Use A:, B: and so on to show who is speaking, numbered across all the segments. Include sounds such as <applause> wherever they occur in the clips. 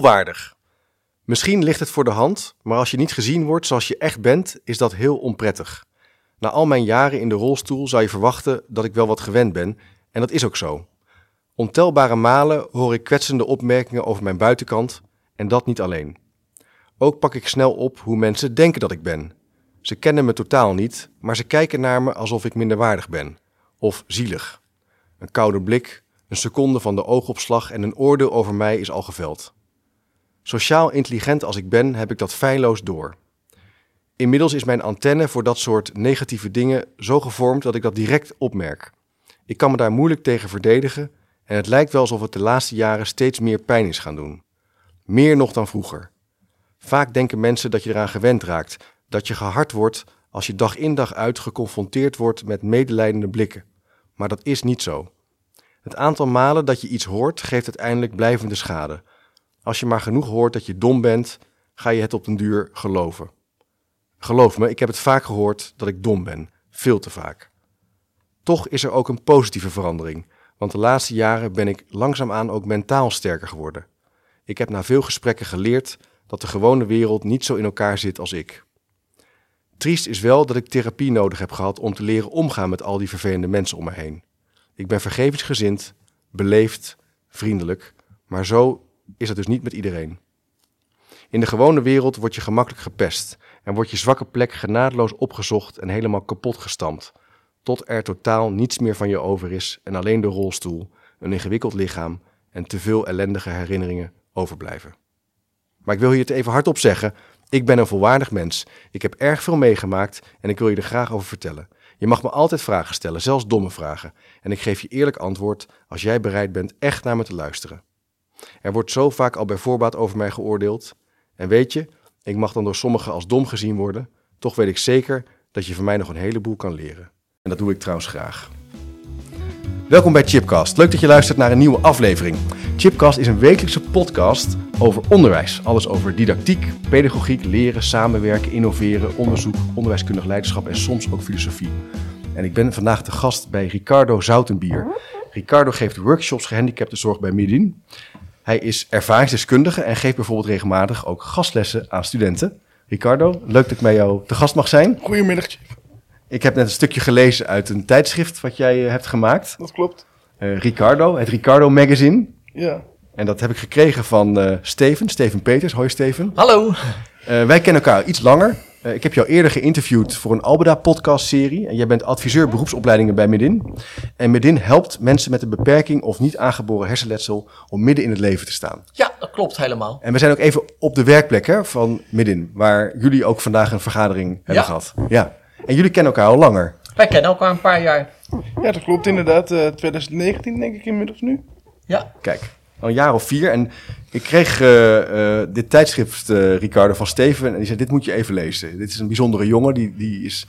A: volwaardig. Misschien ligt het voor de hand, maar als je niet gezien wordt zoals je echt bent, is dat heel onprettig. Na al mijn jaren in de rolstoel zou je verwachten dat ik wel wat gewend ben, en dat is ook zo. Ontelbare malen hoor ik kwetsende opmerkingen over mijn buitenkant, en dat niet alleen. Ook pak ik snel op hoe mensen denken dat ik ben. Ze kennen me totaal niet, maar ze kijken naar me alsof ik minderwaardig ben. Of zielig. Een koude blik, een seconde van de oogopslag en een oordeel over mij is al geveld. Sociaal intelligent als ik ben, heb ik dat feilloos door. Inmiddels is mijn antenne voor dat soort negatieve dingen zo gevormd dat ik dat direct opmerk. Ik kan me daar moeilijk tegen verdedigen en het lijkt wel alsof het de laatste jaren steeds meer pijn is gaan doen. Meer nog dan vroeger. Vaak denken mensen dat je eraan gewend raakt, dat je gehard wordt als je dag in dag uit geconfronteerd wordt met medelijdende blikken. Maar dat is niet zo. Het aantal malen dat je iets hoort geeft uiteindelijk blijvende schade. Als je maar genoeg hoort dat je dom bent, ga je het op den duur geloven. Geloof me, ik heb het vaak gehoord dat ik dom ben, veel te vaak. Toch is er ook een positieve verandering, want de laatste jaren ben ik langzaamaan ook mentaal sterker geworden. Ik heb na veel gesprekken geleerd dat de gewone wereld niet zo in elkaar zit als ik. Triest is wel dat ik therapie nodig heb gehad om te leren omgaan met al die vervelende mensen om me heen. Ik ben vergevensgezind, beleefd, vriendelijk, maar zo is het dus niet met iedereen. In de gewone wereld word je gemakkelijk gepest en wordt je zwakke plek genadeloos opgezocht en helemaal kapot gestampt, tot er totaal niets meer van je over is en alleen de rolstoel, een ingewikkeld lichaam en te veel ellendige herinneringen overblijven. Maar ik wil hier het even hardop zeggen: ik ben een volwaardig mens. Ik heb erg veel meegemaakt en ik wil je er graag over vertellen. Je mag me altijd vragen stellen, zelfs domme vragen. En ik geef je eerlijk antwoord als jij bereid bent echt naar me te luisteren. Er wordt zo vaak al bij voorbaat over mij geoordeeld. En weet je, ik mag dan door sommigen als dom gezien worden. Toch weet ik zeker dat je van mij nog een heleboel kan leren. En dat doe ik trouwens graag. Welkom bij Chipcast. Leuk dat je luistert naar een nieuwe aflevering. Chipcast is een wekelijkse podcast over onderwijs. Alles over didactiek, pedagogiek, leren, samenwerken, innoveren, onderzoek, onderwijskundig leiderschap en soms ook filosofie. En ik ben vandaag de gast bij Ricardo Zoutenbier. Ricardo geeft workshops gehandicaptenzorg bij Midin. Hij is ervaringsdeskundige en geeft bijvoorbeeld regelmatig ook gastlessen aan studenten. Ricardo, leuk dat ik bij jou te gast mag zijn.
B: Goedemiddag, Chip.
A: Ik heb net een stukje gelezen uit een tijdschrift wat jij eh, hebt gemaakt.
B: Dat klopt.
A: Eh, Ricardo, het Ricardo Magazine.
B: Ja.
A: En dat heb ik gekregen van eh, Steven, Steven Peters. Hoi Steven.
C: Hallo.
A: Eh, wij kennen elkaar iets langer. Eh, ik heb jou eerder geïnterviewd voor een Albeda podcast serie. En jij bent adviseur beroepsopleidingen bij Medin. En Medin helpt mensen met een beperking of niet aangeboren hersenletsel om midden in het leven te staan.
C: Ja, dat klopt helemaal.
A: En we zijn ook even op de werkplek hè, van Midin, waar jullie ook vandaag een vergadering hebben
C: Ja.
A: gehad. Ja. En jullie kennen elkaar al langer.
C: Wij kennen elkaar een paar jaar.
B: ja, dat klopt inderdaad. eh, 2019 denk ik inmiddels nu.
C: Ja,
A: Kijk, al een jaar of vier. En ik kreeg eh, eh, dit tijdschrift, eh, Ricardo, van Steven. En die zei, dit moet je even lezen. Dit is een bijzondere jongen. Die, die, is,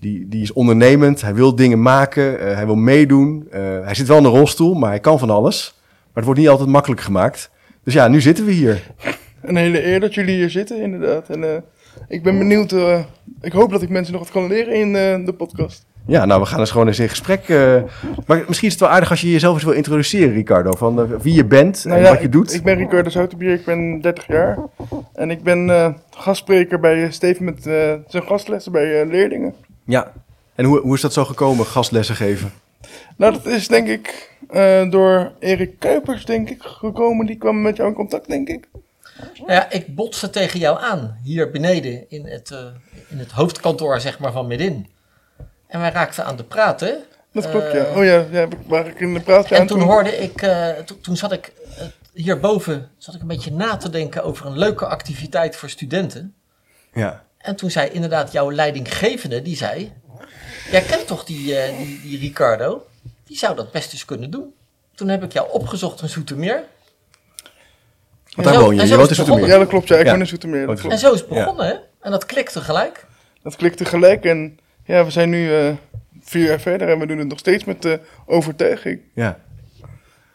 A: die, die is ondernemend. Hij wil dingen maken. eh, hij wil meedoen. Eh, hij zit wel in een rolstoel, maar hij kan van alles. Maar het wordt niet altijd makkelijk gemaakt. Dus ja, nu zitten we hier.
B: Een hele eer dat jullie hier zitten inderdaad. En eh, ik ben benieuwd. eh, ik hoop dat ik mensen nog wat kan leren in eh, de podcast.
A: Ja, nou, we gaan eens gewoon eens in gesprek. eh. maar misschien is het wel aardig als je jezelf eens wil introduceren, Ricardo. Van eh, wie je bent en wat je
B: ik,
A: doet.
B: Nou Ik ben Ricardo Zoutenbier, ik ben 30 jaar. En ik ben eh, gastspreker bij eh, Steven met eh, zijn gastlessen bij eh, leerlingen.
A: Ja. En hoe, hoe is dat zo gekomen, gastlessen geven?
B: Nou, dat is denk ik eh, door Erik Kuipers, denk ik, gekomen. Die kwam met jou in contact, denk ik.
C: nou ja ik botste tegen jou aan hier beneden in het, eh, in het hoofdkantoor zeg maar, van midden. En wij raakten aan de praten.
B: Dat klopt,
C: Eh,
B: ja. Oh ja, ja, waar ik in de praat
C: En toen hoorde ik, eh, to- toen zat ik eh, hierboven zat ik een beetje na te denken over een leuke activiteit voor studenten.
A: Ja.
C: En toen zei inderdaad jouw leidinggevende, die zei, jij kent toch die, eh, die, die Ricardo? Die zou dat best eens kunnen doen. Toen heb ik jou opgezocht in Zoetermeer.
A: Want daar
C: En zo-
A: woon je.
C: en
A: Je
C: zo
A: woont in
C: is het
A: Zoetermeer.
B: Ja, dat klopt. Ja, ik
A: Ja.
B: ben in Zoetermeer. Dat,
A: Oh,
B: klopt.
C: En zo is het begonnen, hè? En dat klikte gelijk.
B: dat klikt tegelijk. En ja, we zijn nu eh, vier jaar verder en we doen het nog steeds met eh, overtuiging.
A: Ja.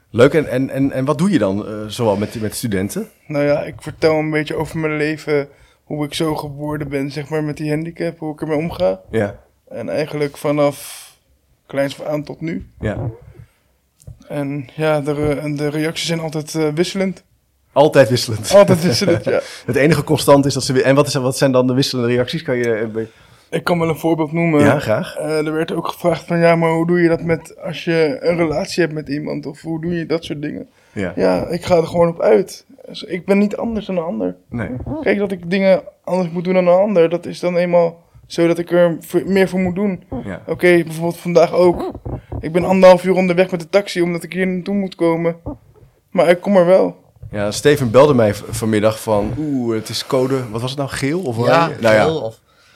A: Leuk. En, en, en, en wat doe je dan eh, zoal met, met studenten?
B: Nou ja, ik vertel een beetje over mijn leven, hoe ik zo geworden ben, zeg maar, met die handicap, hoe ik ermee omga.
A: Ja.
B: En eigenlijk vanaf kleins af aan tot nu.
A: Ja.
B: En ja, de, re- en de reacties zijn altijd eh, wisselend. <laughs>
A: Altijd wisselend.
B: Altijd is het, ja.
A: Het enige constant is dat ze weer. En wat, is, wat zijn dan de wisselende reacties? Kan je, eh, bij-
B: Ik kan wel een voorbeeld noemen.
A: ja, graag.
B: Eh, er werd ook gevraagd van ja, maar hoe doe je dat met als je een relatie hebt met iemand of hoe doe je dat soort dingen?
A: Ja.
B: Ja, ik ga er gewoon op uit. Dus ik ben niet anders dan een ander.
A: Nee.
B: Kijk, dat ik dingen anders moet doen dan een ander, dat is dan eenmaal zo dat ik er v- meer voor moet doen.
A: Ja.
B: Oké, bijvoorbeeld vandaag ook. Ik ben anderhalf uur onderweg met de taxi omdat ik hier naartoe moet komen. Maar ik kom er wel.
A: ja, Steven belde mij v- vanmiddag van. Oeh, het is code. Wat was het nou? Geel? Of
C: Ja,
A: oranje? nou ja,
C: geel of-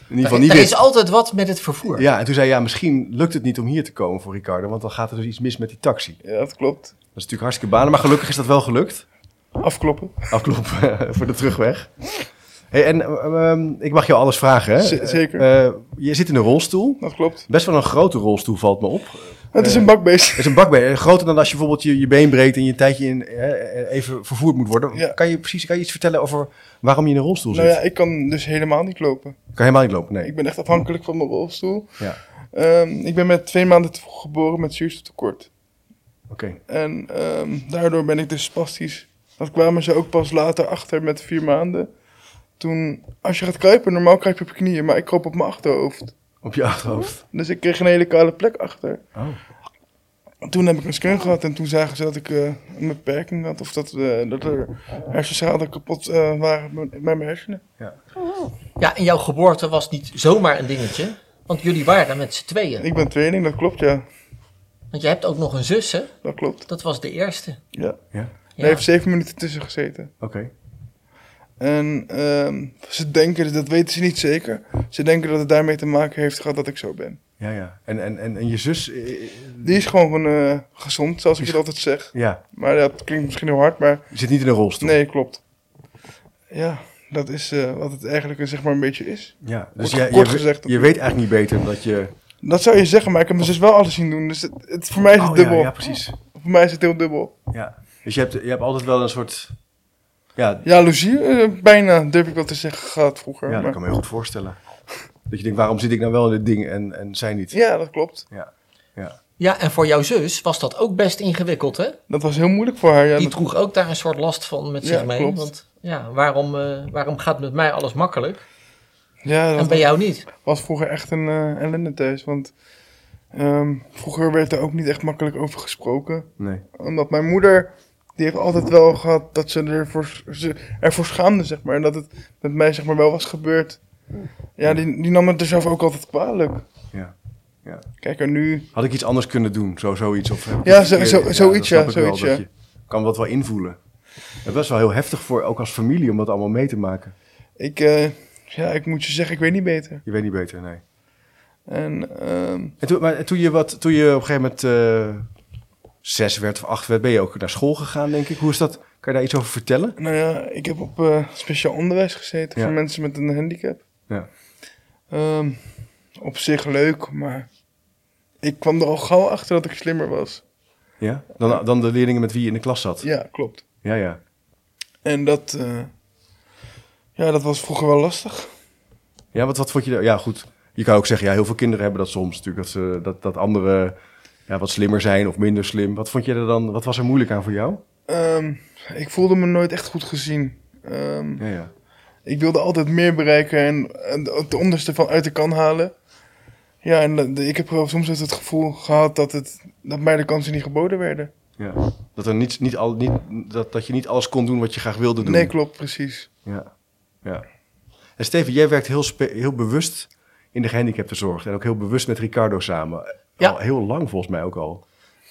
A: in ieder
C: Er,
A: geval niet
C: er is
A: wit.
C: altijd wat met het vervoer.
A: Ja, en toen zei hij, ja, misschien lukt het niet om hier te komen voor Ricardo, want dan gaat er dus iets mis met die taxi.
B: Ja, dat klopt.
A: Dat is natuurlijk hartstikke banen, maar gelukkig is dat wel gelukt.
B: Afkloppen.
A: Afgelopen <laughs> voor de terugweg. Hey, en ehm, ehm, ik mag jou alles vragen, hè?
B: Z- zeker.
A: Eh, je zit in een rolstoel.
B: Dat klopt.
A: Best wel een grote rolstoel valt me op.
B: Het is een bakbeest.
A: Het is een bakbeen. eh, Groter dan als je bijvoorbeeld je, je been breekt en je een tijdje in, eh, even vervoerd moet worden.
B: Ja.
A: Kan je precies kan je iets vertellen over waarom je in een rolstoel zit?
B: Nou ja, ik kan dus helemaal niet lopen.
A: Kan helemaal niet lopen, nee.
B: Ik ben echt afhankelijk van mijn rolstoel.
A: Ja,
B: Ehm, ik ben met twee maanden te vroeg geboren met zuurstoftekort.
A: oké.
B: En ehm, daardoor ben ik dus spastisch. Dat kwamen ze ook pas later achter met vier maanden. Toen, als je gaat kruipen, normaal kruip je op je knieën, maar ik kroop op mijn achterhoofd.
A: Op je achterhoofd.
B: Dus ik kreeg een hele kale plek achter.
A: Oh.
B: En toen heb ik een scan gehad en toen zagen ze dat ik eh, een beperking had. Of dat, eh, dat er hersenschade kapot eh, waren met met mijn hersenen.
C: Ja, en jouw geboorte was niet zomaar een dingetje. Want jullie waren met z'n tweeën.
B: Ik ben tweeling, dat klopt, ja.
C: Want je hebt ook nog een zus, hè?
B: Dat klopt,
C: Dat was de eerste.
B: ja.
A: Ja,
C: Ja.
B: Hij heeft zeven minuten tussen gezeten.
A: oké.
B: En ehm, ze denken, dat weten ze niet zeker. Ze denken dat het daarmee te maken heeft gehad dat ik zo ben.
A: Ja, ja. En, en, en, en je zus, eh, eh,
B: Die is gewoon eh, gezond, zoals ik het altijd zeg.
A: ja,
B: Maar dat klinkt misschien heel hard, maar
A: zit niet in een rolstoel.
B: nee, klopt. Ja, dat is eh, wat het eigenlijk eh, zeg maar een beetje is.
A: Ja, dus
B: Wordt
A: je, je,
B: kort gezegd.
A: je weet eigenlijk niet beter dat je...
B: Dat zou je zeggen, maar ik heb mijn zus wel alles zien doen. Dus het, het- voor mij is het
A: Oh, ja,
B: dubbel.
A: Ja, precies.
B: Voor mij is het heel dubbel.
A: Ja. Dus je hebt, je hebt altijd wel een soort... Ja,
B: Jaloezie, eh, bijna durf ik wel te zeggen, gehad vroeger.
A: ja dat
B: maar-
A: kan me heel goed voorstellen. Dat je denkt, waarom zit ik nou wel in dit ding en, en zij niet?
B: ja dat klopt.
C: Ja, en voor jouw zus was dat ook best ingewikkeld, hè?
B: Dat was heel moeilijk voor haar. Ja,
C: Die
B: dat-
C: droeg ook daar een soort last van met
B: Ja,
C: zich mee.
B: klopt.
C: Want ja, waarom, eh, waarom gaat met mij alles makkelijk
B: ja,
C: en
B: dat
C: bij jou niet?
B: was vroeger echt een eh, ellende thuis. Want ehm, vroeger werd er ook niet echt makkelijk over gesproken.
A: Nee.
B: Omdat mijn moeder, die heeft altijd wel gehad dat ze ervoor, ze ervoor schaamde, zeg maar. En dat het met mij zeg maar wel was gebeurd. Ja, die, die nam het er zelf ook altijd kwalijk.
A: Ja, ja.
B: Kijk, en nu...
A: Had ik iets anders kunnen doen? Zo, zoiets? Of heb ik
B: Ja,
A: iets
B: zo-
A: verkeerd-
B: zo- zoiets,
A: dat snap
B: ja,
A: ik wel,
B: zoiets,
A: dat
B: ja.
A: je kan wat wel invoelen. Het was wel heel heftig voor, ook als familie, om dat allemaal mee te maken.
B: Ik, eh, ja, ik moet je zeggen, ik weet niet beter.
A: Je weet niet beter, nee.
B: En ehm,
A: En toen, maar toen je, wat, toen je op een gegeven moment eh, zes werd of acht werd, ben je ook naar school gegaan, denk ik. Hoe is dat? Kan je daar iets over vertellen?
B: nou ja, ik heb op eh, speciaal onderwijs gezeten
A: Ja.
B: voor mensen met een handicap.
A: Ja.
B: Ehm, op zich leuk, maar ik kwam er al gauw achter dat ik slimmer was.
A: Ja? Dan, dan de leerlingen met wie je in de klas zat? Ja,
B: Ja, klopt.
A: ja.
B: En dat, eh, ja, dat was vroeger wel lastig.
A: Ja, wat, wat vond je... daar- Ja, goed. Je kan ook zeggen, ja, heel veel kinderen hebben dat soms natuurlijk. Dat, ze, dat, dat anderen ja, wat slimmer zijn of minder slim. Wat vond je er dan... Wat was er moeilijk aan voor jou?
B: Ehm, ik voelde me nooit echt goed gezien. Ehm,
A: Ja, ja.
B: ik wilde altijd meer bereiken en, en het onderste van uit de kan halen. Ja, en dat- ik heb wel soms het gevoel gehad dat, het, dat mij de kansen niet geboden werden.
A: ja. Dat, er niet, niet al, niet, dat, dat je niet alles kon doen wat je graag wilde doen.
B: Nee, klopt, precies.
A: Ja, ja. En Steven, jij werkt heel, spe- heel bewust in de gehandicaptenzorg. En ook heel bewust met Ricardo samen.
C: Ja.
A: Al heel lang volgens mij ook al.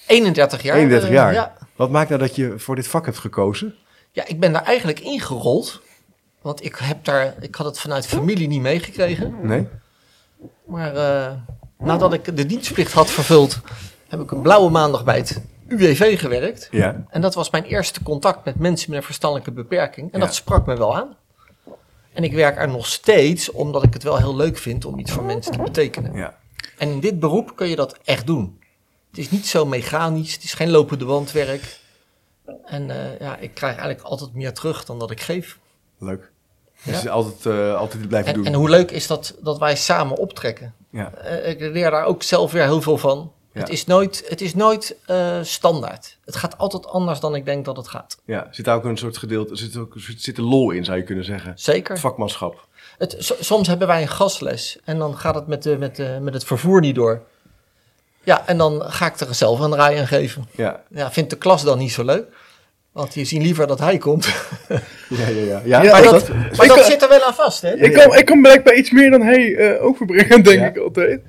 C: 31 jaar.
A: 31
C: eh,
A: jaar.
C: ja.
A: Wat maakt nou dat je voor dit vak hebt gekozen?
C: ja, ik ben daar eigenlijk ingerold. Want ik, heb daar, ik had het vanuit familie niet meegekregen.
A: Nee?
C: Maar eh, nadat ik de dienstplicht had vervuld, heb ik een blauwe maandag bij het UWV gewerkt.
A: Ja.
C: En dat was mijn eerste contact met mensen met een verstandelijke beperking. En
A: Ja.
C: dat sprak me wel aan. En ik werk er nog steeds omdat ik het wel heel leuk vind om iets voor mensen te betekenen.
A: Ja.
C: En in dit beroep kun je dat echt doen. Het is niet zo mechanisch, het is geen lopende wandwerk. En eh, ja, ik krijg eigenlijk altijd meer terug dan dat ik geef.
A: Leuk.
C: Ja.
A: Dus altijd, eh, altijd dit blijven
C: En,
A: doen.
C: en hoe leuk is dat dat wij samen optrekken?
A: Ja.
C: Eh, ik leer daar ook zelf weer heel veel van.
A: Ja.
C: Het is nooit, het is nooit eh, standaard. Het gaat altijd anders dan ik denk dat het gaat.
A: Ja, zit daar ook een soort gedeelte, zit ook zit, zit er lol in, zou je kunnen zeggen.
C: Zeker.
A: Het vakmanschap.
C: Het, so- soms hebben wij een gasles en dan gaat het met, de, met, de, met het vervoer niet door. Ja, en dan ga ik er zelf een rij aan geven.
A: Ja,
C: Ja, vindt de klas dan niet zo leuk? Want die zien liever dat hij komt.
A: ja, ja. ja. ja,
B: Ja,
A: maar
C: maar
A: dat,
C: dat, maar dat
B: kan-
C: zit er wel aan vast, hè?
A: Ja,
B: Ik,
A: ja.
B: kan, ik kan blijkbaar iets meer dan hij eh, overbrengen, denk
A: Ja.
B: ik altijd.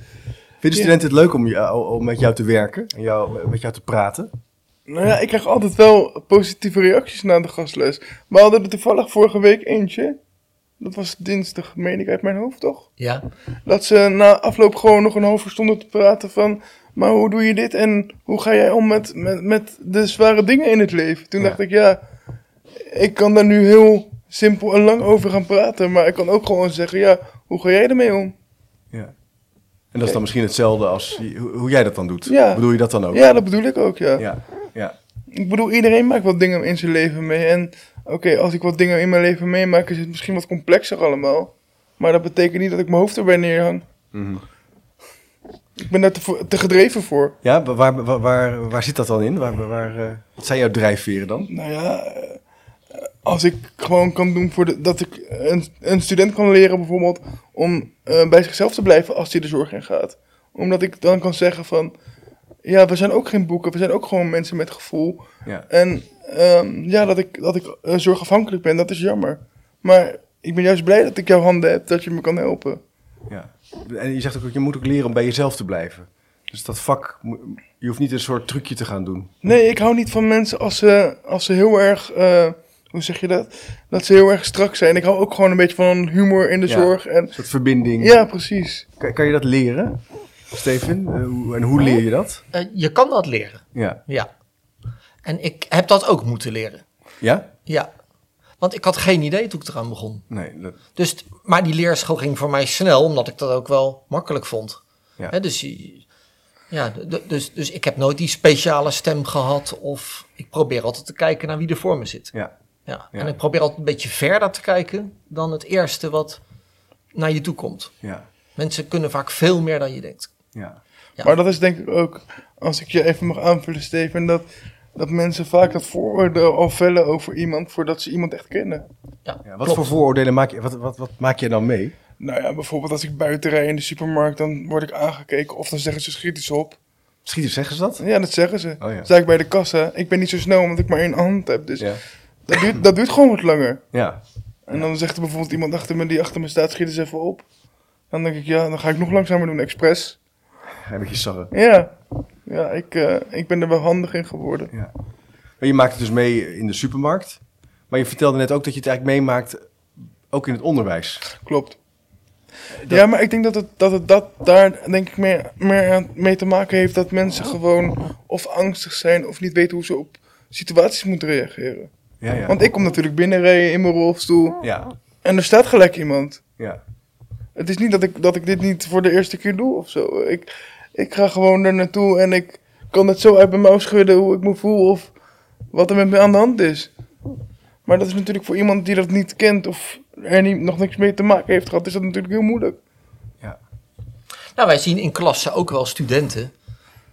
A: Vinden studenten het leuk om, jou, om met jou te werken en jou, eh, met jou te praten?
B: Nou ja, ik krijg altijd wel positieve reacties na de gastles. We hadden er toevallig vorige week eentje. Dat was dinsdag, meen ik uit mijn hoofd, toch?
C: Ja,
B: Dat ze na afloop gewoon nog een half uur stonden te praten van... Maar hoe doe je dit en hoe ga jij om met, met, met de zware dingen in het leven? Toen
A: Ja.
B: dacht ik, ja, ik kan daar nu heel simpel en lang over gaan praten. Maar ik kan ook gewoon zeggen, ja, hoe ga jij ermee om?
A: Ja. En dat is dan misschien hetzelfde als je- hoe, hoe jij dat dan doet.
B: Ja.
A: Bedoel je dat dan ook?
B: Ja, dat bedoel ik ook, ja.
A: Ja, ja.
B: Ik bedoel, iedereen maakt wat dingen in zijn leven mee. En oké, als ik wat dingen in mijn leven meemaak, is het misschien wat complexer allemaal. Maar dat betekent niet dat ik mijn hoofd erbij neerhang.
A: Mhm.
B: Ik ben daar te, vo- te gedreven voor.
A: Ja, wa- waar, waar, waar, waar zit dat dan in? Waar, waar- waar, eh, wat zijn jouw drijfveren dan?
B: Nou ja, eh, als ik gewoon kan doen voor de, dat ik een, een student kan leren bijvoorbeeld om eh, bij zichzelf te blijven als hij de zorg in gaat. Omdat ik dan kan zeggen van, ja, we zijn ook geen boeken, we zijn ook gewoon mensen met gevoel.
A: Ja.
B: En ehm, ja, dat ik, dat ik eh, zorgafhankelijk ben, dat is jammer. Maar ik ben juist blij dat ik jouw handen heb, dat je me kan helpen.
A: ja. En je zegt ook, je moet ook leren om bij jezelf te blijven. Dus dat vak, mo- je hoeft niet een soort trucje te gaan doen.
B: Nee, ik hou niet van mensen als ze, als ze heel erg, eh, hoe zeg je dat? Dat ze heel erg strak zijn. Ik hou ook gewoon een beetje van humor in de
A: Ja.
B: zorg. En,
A: Een soort verbinding.
B: ja, precies.
A: Kan, kan je dat leren, Steven? Eh, hoe- en hoe leer je dat?
C: Eh, je kan dat leren.
A: Ja.
C: Ja. En ik heb dat ook moeten leren.
A: Ja?
C: Ja. Want ik had geen idee toen ik eraan begon.
A: Nee. dat-
C: Dus, t- maar die leerschool ging voor mij snel, omdat ik dat ook wel makkelijk vond.
A: Ja.
C: Hè, dus, je- ja, d- d- dus, dus ik heb nooit die speciale stem gehad. Of ik probeer altijd te kijken naar wie er voor me zit.
A: ja.
C: Ja.
A: Ja.
C: En ik probeer altijd een beetje verder te kijken dan het eerste wat naar je toe komt.
A: Ja.
C: Mensen kunnen vaak veel meer dan je denkt.
A: Ja.
C: Ja.
B: Maar dat is denk ik ook, als ik je even mag aanvullen, Steven, dat, dat mensen vaak dat vooroordeel al vellen over iemand voordat ze iemand echt kennen.
C: Ja,
A: ja. Wat
C: klopt.
A: voor vooroordelen maak je, wat, wat, wat maak je dan mee?
B: Nou ja, bijvoorbeeld als ik buiten rij in de supermarkt, dan word ik aangekeken of dan zeggen ze schiet iets op.
A: Schieters zeggen ze dat?
B: Ja, dat zeggen ze.
A: Oh ja.
B: Sta ik bij de kassa. Ik ben niet zo snel omdat ik maar één hand heb. Dus
A: Ja.
B: dat, duurt, dat duurt gewoon wat langer.
A: Ja.
B: En dan zegt er bijvoorbeeld iemand achter me die achter me staat, schiet eens even op. Dan denk ik, ja, dan ga ik nog langzamer doen, expres.
A: Een beetje sarren.
B: Ja, ja ik, eh, ik ben er wel handig in geworden.
A: Ja. Maar je maakt het dus mee in de supermarkt. Maar je vertelde net ook dat je het eigenlijk meemaakt ook in het onderwijs.
B: Klopt. Ja, maar ik denk dat het, dat, het, dat daar denk ik meer, meer aan- mee te maken heeft dat mensen gewoon of angstig zijn of niet weten hoe ze op situaties moeten reageren.
A: Ja, ja.
B: Want ik kom natuurlijk binnenrijden in mijn rolstoel
A: Ja,
B: en er staat gelijk iemand.
A: ja.
B: Het is niet dat ik, dat ik dit niet voor de eerste keer doe of zo. Ik, ik ga gewoon er naartoe en ik kan het zo uit mijn mouw schudden hoe ik me voel of wat er met me aan de hand is. Maar dat is natuurlijk voor iemand die dat niet kent of er niet, nog niks mee te maken heeft gehad, is dat natuurlijk heel moeilijk.
C: Nou, wij zien in klassen ook wel studenten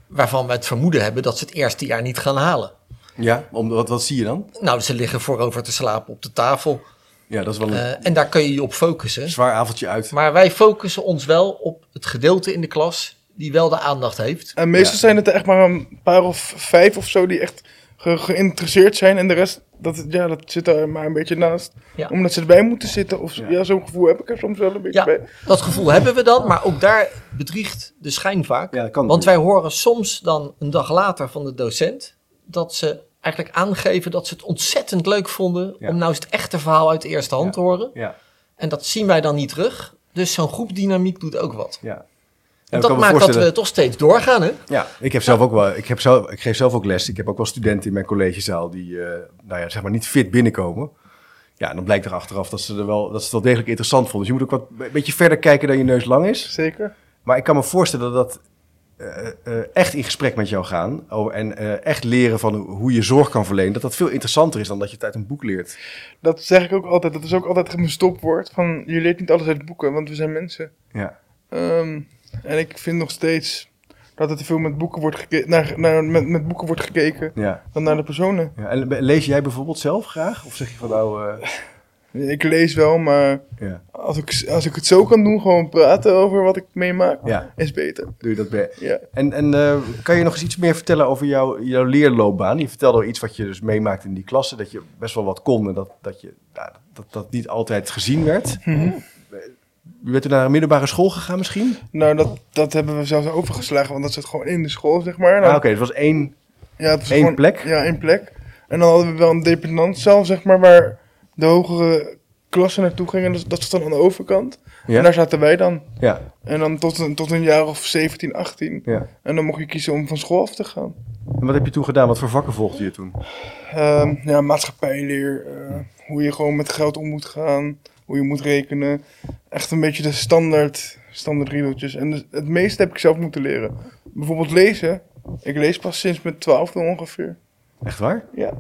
C: waarvan we het vermoeden hebben dat ze het eerste jaar niet gaan halen.
A: ja om, wat, wat zie je dan?
C: Nou, ze liggen voorover te slapen op de tafel.
A: Ja, dat is wel een
C: Eh, en daar kun je je op focussen.
A: zwaar avondje uit.
C: Maar wij focussen ons wel op het gedeelte in de klas die wel de aandacht heeft.
B: En meestal
A: Ja.
B: zijn het er echt maar een paar of vijf of zo die echt ge- geïnteresseerd zijn en de rest, dat, ja, dat zit er maar een beetje naast.
C: Ja.
B: Omdat ze erbij moeten zitten of
A: Ja.
B: ja, zo'n gevoel heb ik er soms wel een beetje
C: Ja,
B: bij.
C: dat gevoel hebben we dan, maar ook daar bedriegt de schijn vaak.
A: Ja, dat kan.
C: Want wij horen soms dan een dag later van de docent dat ze eigenlijk aangeven dat ze het ontzettend leuk vonden
A: Ja.
C: om nou eens het echte verhaal uit de eerste hand
A: Ja.
C: te horen.
A: Ja,
C: En dat zien wij dan niet terug. Dus zo'n groepdynamiek doet ook wat.
A: ja. ja.
C: En
A: ik kan
C: dat
A: me
C: maakt dat
A: voorstellen-
C: we toch steeds doorgaan, hè?
A: Ja, ik heb zelf ook wel. Ik, heb zelf, ik geef zelf ook les. Ik heb ook wel studenten in mijn collegezaal die, eh, nou ja, zeg maar niet fit binnenkomen. Ja, en dan blijkt er achteraf dat ze, er wel, dat ze het wel degelijk interessant vonden. Dus je moet ook wat een beetje verder kijken dan je neus lang is.
B: Zeker.
A: Maar ik kan me voorstellen dat eh, eh, echt in gesprek met jou gaan oh, en eh, echt leren van hoe- hoe je zorg kan verlenen, dat dat veel interessanter is dan dat je het uit een boek leert.
B: Dat zeg ik ook altijd. Dat is ook altijd mijn stopwoord. Van, je leert niet alles uit boeken, want we zijn mensen.
A: Ja,
B: Ehm, en ik vind nog steeds dat er te veel met boeken wordt, geke- naar, naar, met, met boeken wordt gekeken
A: Ja.
B: dan naar de personen.
A: ja. En le- lees jij bijvoorbeeld zelf graag? Of zeg je van nou... eh,
B: Ik lees wel, maar
A: ja.
B: als ik, als ik het zo kan doen, gewoon praten over wat ik meemaak,
A: ja,
B: is beter.
A: doe je dat bij.
B: Ja.
A: En, en eh, kan je nog eens iets meer vertellen over jouw, jouw leerloopbaan? Je vertelde al iets wat je dus meemaakte in die klasse. Dat je best wel wat kon en dat dat, je, nou, dat, dat niet altijd gezien werd.
C: Mhm.
A: Je bent toen naar een middelbare school gegaan misschien?
B: Nou, dat, dat hebben we zelfs overgeslagen, want dat zat gewoon in de school, zeg maar.
A: Ah,
B: Dan-
A: Oké, het was één...
B: ja, het was
A: één
B: gewoon-
A: plek?
B: Ja, één plek. En dan hadden we wel een depenantzaal, zeg maar, waar de hogere klassen naartoe gingen. Dat, dat zat dan aan de overkant. En daar
A: Ja,
B: zaten wij dan.
A: ja,
B: En dan tot een, tot een jaar of 17, 18.
A: ja.
B: En dan mocht je kiezen om van school af te gaan.
A: En wat heb je toen gedaan? Wat voor vakken volgde je toen?
B: Ehm, ja, maatschappijleer, eh, hoe je gewoon met geld om moet gaan, hoe je moet rekenen. Echt een beetje de standaard, standaard riedeltjes. En dus het meeste heb ik zelf moeten leren. Bijvoorbeeld lezen. Ik lees pas sinds mijn twaalfde ongeveer.
A: Echt waar?
B: Ja.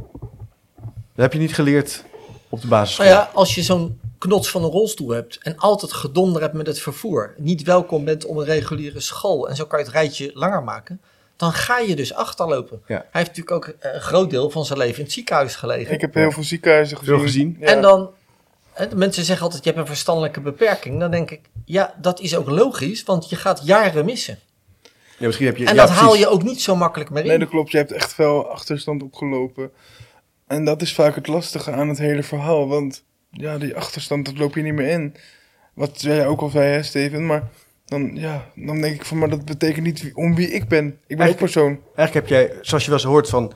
A: Dat heb je niet geleerd op de basisschool?
C: Nou ja, als je zo'n knots van een rolstoel hebt en altijd gedonder hebt met het vervoer, niet welkom bent om een reguliere school en zo kan je het rijtje langer maken, dan ga je dus achterlopen.
A: Ja.
C: Hij heeft natuurlijk ook eh, een groot deel van zijn leven in het ziekenhuis gelegen.
B: Ik heb heel veel ziekenhuizen gezien.
A: Veel gezien.
B: Ja.
C: En dan, hè, de mensen zeggen altijd, je hebt een verstandelijke beperking. Dan denk ik, ja, dat is ook logisch, want je gaat jaren missen.
A: Ja, misschien heb je...
C: En
A: ja,
C: dat haal
A: precies.
C: je ook niet zo makkelijk meer in.
B: Nee, dat klopt. Je hebt echt veel achterstand opgelopen. En dat is vaak het lastige aan het hele verhaal. Want ja, die achterstand, dat loop je niet meer in. Wat jij ook al zei, hè, Steven. Maar dan, ja, dan denk ik van, maar dat betekent niet wie- om wie ik ben. Ik ben ook
A: Eigenlijk-
B: persoon.
A: Eigenlijk heb jij, zoals je wel eens hoort van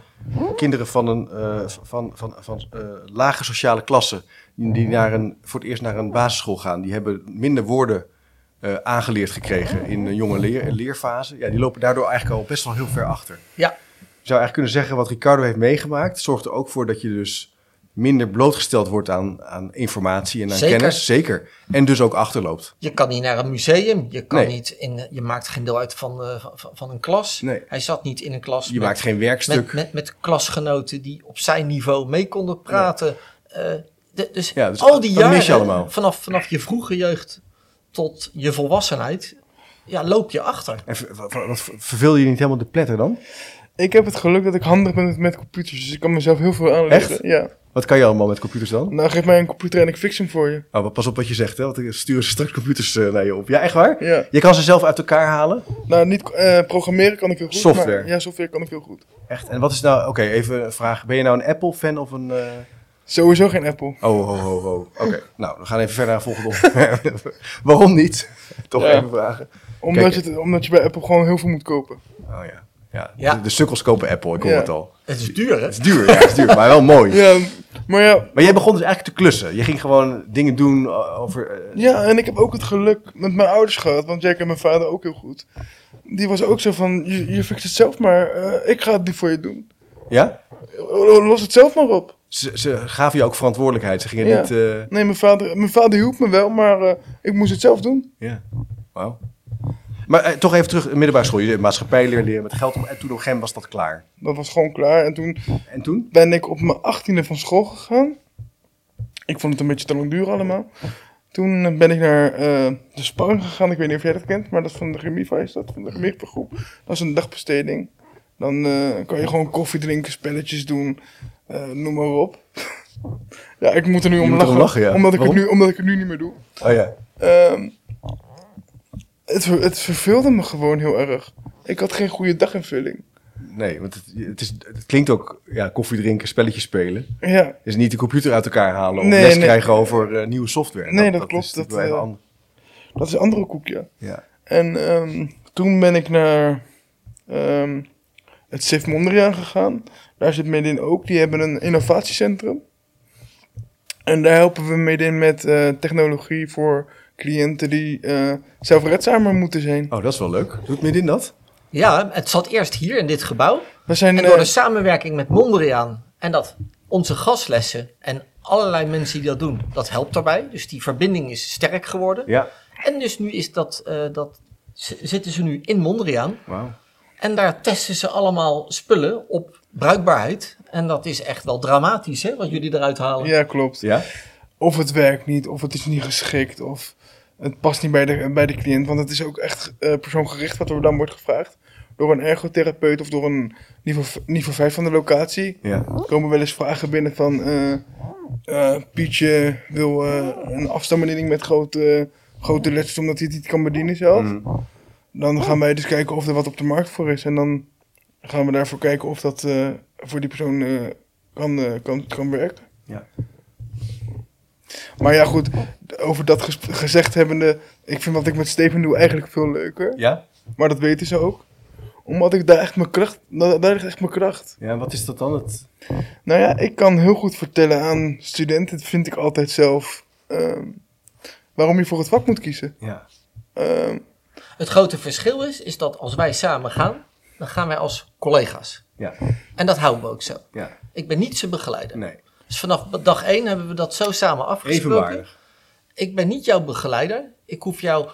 A: kinderen van een eh, van, van, van, eh, lage sociale klasse, die naar een, voor het eerst naar een basisschool gaan, die hebben minder woorden eh, aangeleerd gekregen in een jonge leer, leerfase. Ja, die lopen daardoor eigenlijk al best wel heel ver achter.
C: Ja.
A: Je zou eigenlijk kunnen zeggen, wat Ricardo heeft meegemaakt, zorgt er ook voor dat je dus minder blootgesteld wordt aan, aan informatie en aan
C: Zeker.
A: kennis. Zeker. En dus ook achterloopt.
C: Je kan niet naar een museum, je, kan
A: Nee.
C: niet in, je maakt geen deel uit van, eh, van, van een klas.
A: Nee.
C: Hij zat niet in een klas
A: Je
C: met,
A: maakt geen werkstuk.
C: met, met, met klasgenoten die op zijn niveau mee konden praten. Eh, de- dus,
A: Ja, dus
C: al die
A: dat mis je
C: jaren,
A: allemaal.
C: Vanaf, vanaf je vroege jeugd tot je volwassenheid, ja, loop je achter.
A: En ver- ver- ver- ver- verveel je niet helemaal de pletter dan?
B: Ik heb het geluk dat ik handig ben met, met computers. Dus ik kan mezelf heel veel aanleggen.
A: Echt?
B: Ja.
A: Wat kan je allemaal met computers dan?
B: Nou, geef mij een computer en ik fix hem voor je.
A: Oh, maar pas op wat je zegt, hè? want er sturen ze <laughs> straks computers eh, naar je op. Ja, echt waar?
B: Ja.
A: Je kan ze zelf uit elkaar halen.
B: Nou, niet eh, programmeren kan ik heel goed.
A: Software.
B: Maar, ja, software kan ik heel goed.
A: Echt. En wat is nou, oké, even een vraag. Ben je nou een Apple-fan of een. eh,
B: Sowieso geen Apple.
A: Oh, ho, ho, ho. Oké, nou, we gaan even verder naar het volgende onderwerp. <laughs> Waarom niet? Toch
B: Ja.
A: even vragen.
B: Omdat je,
A: Kijk,
B: het- omdat je bij Apple gewoon heel veel moet kopen.
A: Oh ja. Ja,
C: Ja.
A: De, de sukkels kopen Apple, ik hoor
B: Ja.
A: het al.
C: Het is duur, hè?
A: Het is duur, ja, het is duur, maar wel mooi.
B: Ja, maar ja,
A: Maar jij begon dus eigenlijk te klussen. Je ging gewoon dingen doen eh, over... eh,
B: Ja, en ik heb ook het geluk met mijn ouders gehad, want jij kent mijn vader ook heel goed. Die was ook zo van, je, je fixt het zelf maar, eh, ik ga het niet voor je doen.
A: ja?
B: Los het zelf maar op.
A: Ze, ze gaven je ook verantwoordelijkheid. Ze gingen
B: Ja.
A: niet... eh,
B: Nee, mijn vader, mijn vader hielp me wel, maar eh, ik moest het zelf doen.
A: Ja, wauw. Maar eh, toch even terug, middelbare school. Je deed maatschappijleer leren met geld. om- En toen op een gegeven moment was dat klaar.
B: Dat was gewoon klaar. En toen
A: En toen?
B: ben ik op mijn achttiende van school gegaan. Ik vond het een beetje te lang duren allemaal. Toen ben ik naar eh, de sparring gegaan. Ik weet niet of jij dat kent, maar dat is van de Gemiva is dat, van de Gemiva groep. Dat is een dagbesteding. Dan eh, kan je gewoon koffie drinken, spelletjes doen, eh, noem maar op. <laughs> ja, ik moet er nu
A: Je
B: om
A: moet
B: lachen,
A: erom lachen, ja.
B: omdat, ik het
A: Waarom?
B: nu, omdat ik het nu niet meer doe.
A: Oh ja.
B: Ehm, het, ver- het verveelde me gewoon heel erg. Ik had geen goede daginvulling.
A: Nee, want het, het, is, het klinkt ook ja, koffie drinken, spelletjes spelen.
B: Ja,
A: Dus niet de computer uit elkaar halen of
B: Nee,
A: les
B: nee.
A: krijgen over eh, nieuwe software.
B: Nee, dat klopt,
A: is natuurlijk
B: dat,
A: wel even
B: eh,
A: anders.
B: dat is een andere koekje.
A: Ja.
B: En ehm, toen ben ik naar ehm, het SIF Mondriaan gegaan. Daar zit Medin ook. Die hebben een innovatiecentrum. En daar helpen we Medin met eh, technologie voor cliënten die eh, zelfredzamer moeten zijn.
A: Oh, dat is wel leuk. Doet midden in dat?
C: Ja, het zat eerst hier in dit gebouw.
B: We zijn,
C: En door
B: eh,
C: de samenwerking met Mondriaan en dat onze gastlessen en allerlei mensen die dat doen, dat helpt daarbij. Dus die verbinding is sterk geworden.
A: Ja.
C: En dus nu is dat, eh, dat z- zitten ze nu in Mondriaan
A: Wauw.
C: en daar testen ze allemaal spullen op bruikbaarheid. En dat is echt wel dramatisch, hè, wat jullie eruit halen.
B: ja, klopt.
A: Ja?
B: Of het werkt niet, of het is niet geschikt, of het past niet bij de, bij de cliënt. Want het is ook echt eh, persoongericht wat er dan wordt gevraagd. door een ergotherapeut of door een niveau, v- niveau 5 van de locatie.
A: Ja.
B: Er komen wel eens vragen binnen van eh, eh, Pietje wil eh, een afstandsbediening met grote, grote letters omdat hij het niet kan bedienen zelf. Dan gaan wij dus kijken of er wat op de markt voor is. En dan gaan we daarvoor kijken of dat eh, voor die persoon eh, kan, eh, kan, kan werken.
A: Ja.
B: Maar ja, goed, over dat gesp- gezegd hebbende, ik vind wat ik met Steven doe eigenlijk veel leuker.
A: Ja?
B: Maar dat weten ze ook. Omdat ik daar echt mijn kracht, daar daar ligt echt mijn kracht.
A: Ja, wat is dat dan? Het...
B: Nou ja, ik kan heel goed vertellen aan studenten, dat vind ik altijd zelf, ehm, waarom je voor het vak moet kiezen.
A: Ja.
B: Ehm,
C: Het grote verschil is, is dat als wij samen gaan, dan gaan wij als collega's.
A: Ja.
C: En dat houden we ook zo.
A: Ja.
C: Ik ben niet zijn
A: <laughs>
C: begeleider.
A: Nee.
C: Dus vanaf dag één hebben we dat zo samen afgesproken.
A: Evenwaardig.
C: Ik ben niet jouw begeleider. Ik hoef jou...